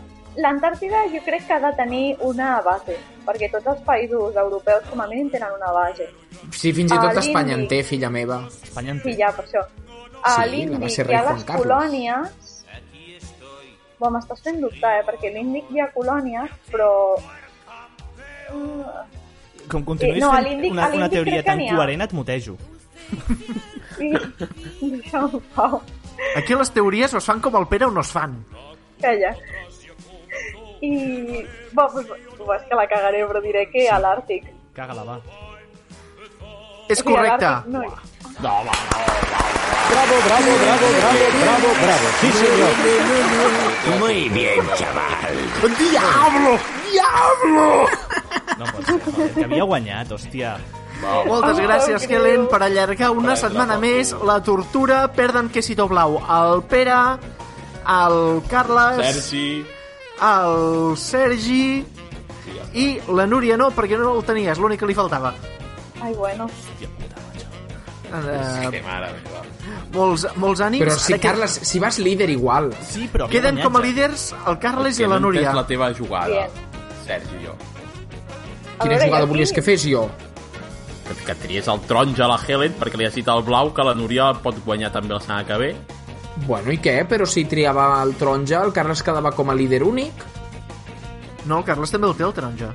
Speaker 17: L'Antàrtida jo crec que ha de tenir una base, perquè tots els països europeus com a mínim tenen una base.
Speaker 5: Sí, fins i
Speaker 17: A
Speaker 5: tot
Speaker 17: l'Índic.
Speaker 5: Espanya en té, filla meva.
Speaker 4: Espanya en
Speaker 17: Sí, ja, per això. A
Speaker 5: Sí, la va
Speaker 17: l'Índic
Speaker 5: ser
Speaker 17: hi
Speaker 5: rei
Speaker 17: ha
Speaker 5: Juan
Speaker 17: les
Speaker 5: Carlos.
Speaker 17: colònies... Bo, m'estàs fent dubtar, eh? Perquè a l'Índic hi ha colònies, però... Mm,
Speaker 4: Com continuïs
Speaker 17: Eh, no, a
Speaker 4: fent
Speaker 17: l'Índic- a
Speaker 4: una, una
Speaker 17: l'Índic
Speaker 4: teoria
Speaker 17: crec que
Speaker 4: tan
Speaker 17: n'hi ha.
Speaker 4: coherent, et mutejo.
Speaker 17: Sí, deixa'm en pau.
Speaker 2: Aquí les teories o es fan com el Pere o no es fan.
Speaker 17: Calla. I... Bo, pues, bo, és que la cagaré, però diré que a l'Àrtic.
Speaker 4: Caga-la, va.
Speaker 2: És
Speaker 17: O sigui, a l'Àrtic
Speaker 14: Ah,
Speaker 2: correcte.
Speaker 17: No, hi-
Speaker 3: No, va, no.
Speaker 14: Bravo, bravo, bravo, bravo, bravo, bravo. Sí, señor.
Speaker 15: Muy bien, chaval.
Speaker 14: ¡Diablo! ¡Diablo!
Speaker 4: No pot ser, joder, que havia guanyat, hòstia.
Speaker 2: Moltes gràcies,
Speaker 4: Oh,
Speaker 2: Helen, per allargar una setmana més la tortura. Perden que cito blau. El Pere, el Carles...
Speaker 3: Sergi...
Speaker 2: el Sergi i la Núria no, perquè no el tenia, és l'únic que li faltava.
Speaker 17: Ai, bueno.
Speaker 2: Eh,
Speaker 3: Que mare meva.
Speaker 2: molts, molts ànims.
Speaker 5: Però si,
Speaker 2: Ara que-
Speaker 5: Carles, si vas líder igual.
Speaker 4: Sí, però...
Speaker 2: Queden com a eh? líders el Carles i la Núria.
Speaker 3: la teva jugada,
Speaker 17: Bien.
Speaker 3: Sergi, jo.
Speaker 5: Quina
Speaker 17: veure,
Speaker 5: jugada
Speaker 17: jo
Speaker 5: volies
Speaker 17: sí.
Speaker 5: que fes jo?
Speaker 3: Que, que tries el taronja a la Helen perquè li ha citat el blau, que la Núria pot guanyar també la setmana que ve.
Speaker 5: Bueno, i què? Però si triava el taronja, el Carles quedava com a líder únic.
Speaker 2: No, el Carles també el té, el taronja.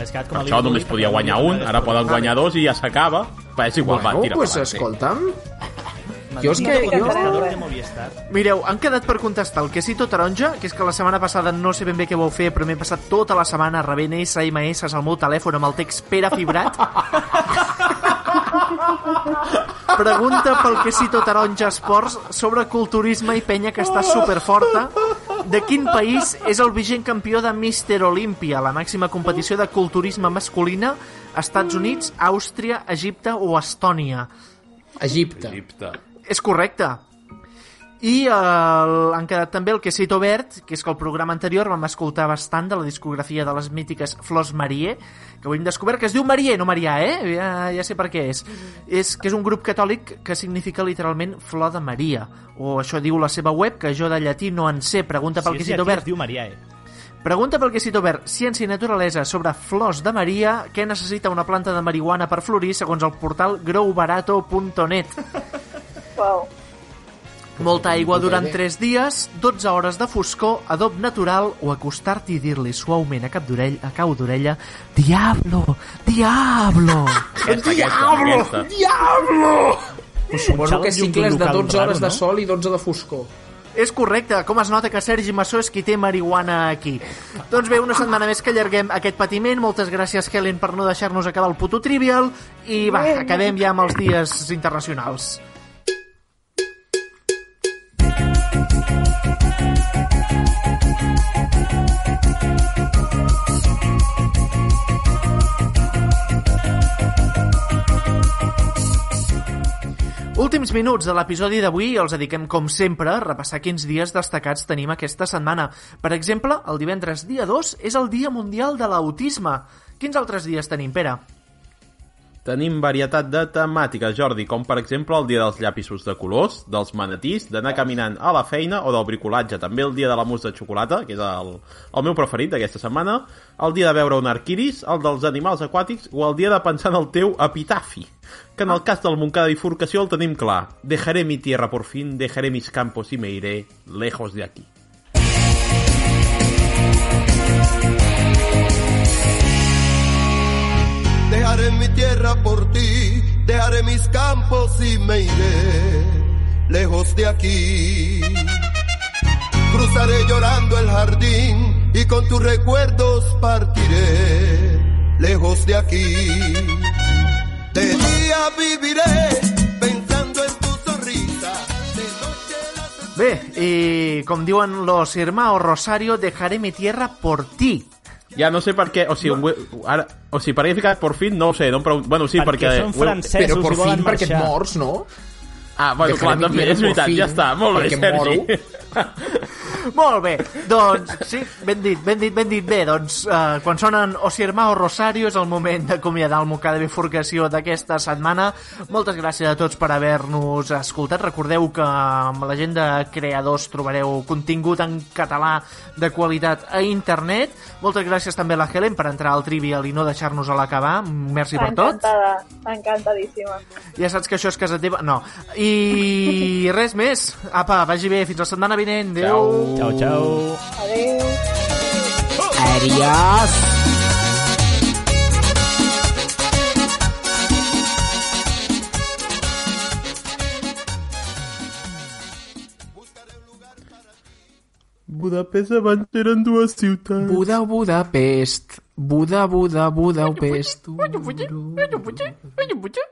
Speaker 4: Has quedat com
Speaker 3: Per
Speaker 4: a
Speaker 3: això
Speaker 4: líder
Speaker 3: només
Speaker 4: únic,
Speaker 3: podia
Speaker 4: però
Speaker 3: guanyar
Speaker 4: no hi ha
Speaker 3: un,
Speaker 4: res
Speaker 3: ara
Speaker 4: per
Speaker 3: poden guanyar dos i ja s'acaba. Va, és igual, va,
Speaker 5: bueno,
Speaker 3: tira.
Speaker 5: pues eh?
Speaker 3: per adelante.
Speaker 5: escolta'm.
Speaker 4: Madrid,
Speaker 5: Jo és
Speaker 4: no
Speaker 5: que-
Speaker 4: toca
Speaker 5: jo-
Speaker 4: contestador de Movistar.
Speaker 2: Mireu, han quedat per contestar el quesito taronja, que és que la setmana passada no sé ben bé què vau fer, però m'he passat tota la setmana rebent SMS al meu telèfon amb el text Pere Fibrat. Pregunta pel quesito taronja esports sobre culturisme i penya que està superforta. De quin país és el vigent campió de Mister Olympia, la màxima competició de culturisme masculina, Estats Units, Àustria, Egipte o Estònia?
Speaker 5: Egipte.
Speaker 3: Egipte.
Speaker 2: És correcte. I el, han quedat també el que cito verd, que és que el programa anterior vam escoltar bastant de la discografia de les mítiques Flors Marie, que avui hem descobert que es diu Marie, no Marià, eh? Ja, ja sé per què és.
Speaker 4: Mm-hmm.
Speaker 2: És que és un grup catòlic que significa literalment Flor de Maria, o això diu la seva web, que jo de llatí no en sé. Pregunta
Speaker 4: Sí,
Speaker 2: pel que
Speaker 4: sí,
Speaker 2: cito
Speaker 4: aquí
Speaker 2: verd.
Speaker 4: es diu eh? Mariae.
Speaker 2: Pregunta pel que cito obert, Ciència i Naturalesa sobre flors de Maria, què necessita una planta de marihuana per florir segons el portal growbarato.net.
Speaker 17: Wow.
Speaker 2: Molta aigua durant
Speaker 5: Puta
Speaker 2: 3 dies, 12 hores de foscor, adob natural o acostar-t'hi i dir-li suaument a cap d'orella, a cau d'orella, Diablo! Diablo!
Speaker 3: Aquesta,
Speaker 5: Diablo!
Speaker 3: aquesta, aquesta.
Speaker 5: Diablo!
Speaker 4: Pues
Speaker 5: Suposo que cicles de 12 hores de sol i 12 de foscor.
Speaker 2: És correcte, com es nota que Sergi Massó és qui té marihuana aquí. Doncs bé, una setmana més que allarguem aquest patiment. Moltes gràcies, Helen, per no deixar-nos acabar el puto trivial. I va,
Speaker 17: Bé.
Speaker 2: acabem ja amb els dies internacionals. Últims minuts de l'episodi d'avui els dediquem, com sempre, a repassar quins dies destacats tenim aquesta setmana. Per exemple, el divendres dia 2 és el Dia Mundial de l'Autisme. Quins altres dies tenim, Pere?
Speaker 3: Tenim varietat de temàtiques, Jordi, com per exemple el dia dels llapisos de colors, dels manatís, d'anar caminant a la feina o del bricolatge. També el dia de la mousse de xocolata, que és el, el meu preferit d'aquesta setmana, el dia de veure un arquiris, el dels animals aquàtics o el dia de pensar en el teu epitafi, que en el cas del Montcada Bifurcació el tenim clar. Dejaré mi tierra por fin, dejaré mis campos y me iré lejos de aquí.
Speaker 1: Dejaré mi tierra por ti, dejaré mis campos y me iré lejos de aquí. Cruzaré llorando el jardín y con tus recuerdos partiré lejos de aquí. De día viviré pensando en tu sonrisa.
Speaker 2: Bé, i com diuen los Irma o Rosario, dejaré mi tierra por ti.
Speaker 3: Ja no sé per què, o sigui, no. ara, o sigui per què he ficat por fin, no ho sé, no em pregunto... Bueno, sí, perquè... ho-
Speaker 5: Però por fin, perquè et mors, no?
Speaker 3: Ah, bueno,
Speaker 5: Dejaré
Speaker 3: clar,
Speaker 5: mi
Speaker 3: també,
Speaker 5: tierra
Speaker 3: és veritat,
Speaker 5: por
Speaker 3: ja
Speaker 5: fin,
Speaker 3: està, molt bé,
Speaker 5: perquè
Speaker 3: Sergi.
Speaker 5: moro.
Speaker 2: Molt bé, doncs sí, ben dit, ben dit, ben dit. Bé, doncs eh, quan sonen o Sirma o Rosario és el moment d'acomiadar el Mocà de Bifurcació d'aquesta setmana. Moltes gràcies a tots per haver-nos escoltat. Recordeu que amb la gent de creadors trobareu contingut en català de qualitat a internet. Moltes gràcies també a la Helen per entrar al Trivial i no deixar-nos a l'acabar. Merci per tot.
Speaker 17: Encantada, encantadíssima.
Speaker 2: Ja saps que això és casa teva. No. I res més. Apa, vagi bé. Fins la setmana vinent. Adéu.
Speaker 19: Ciao, ciao.
Speaker 17: Adéu.
Speaker 5: Adiós.
Speaker 3: Budapest abans eren dues ciutats.
Speaker 5: Buda, Budapest. Buda, Buda, Budapest.
Speaker 14: Buda, Buda, Buda, Buda, Buda.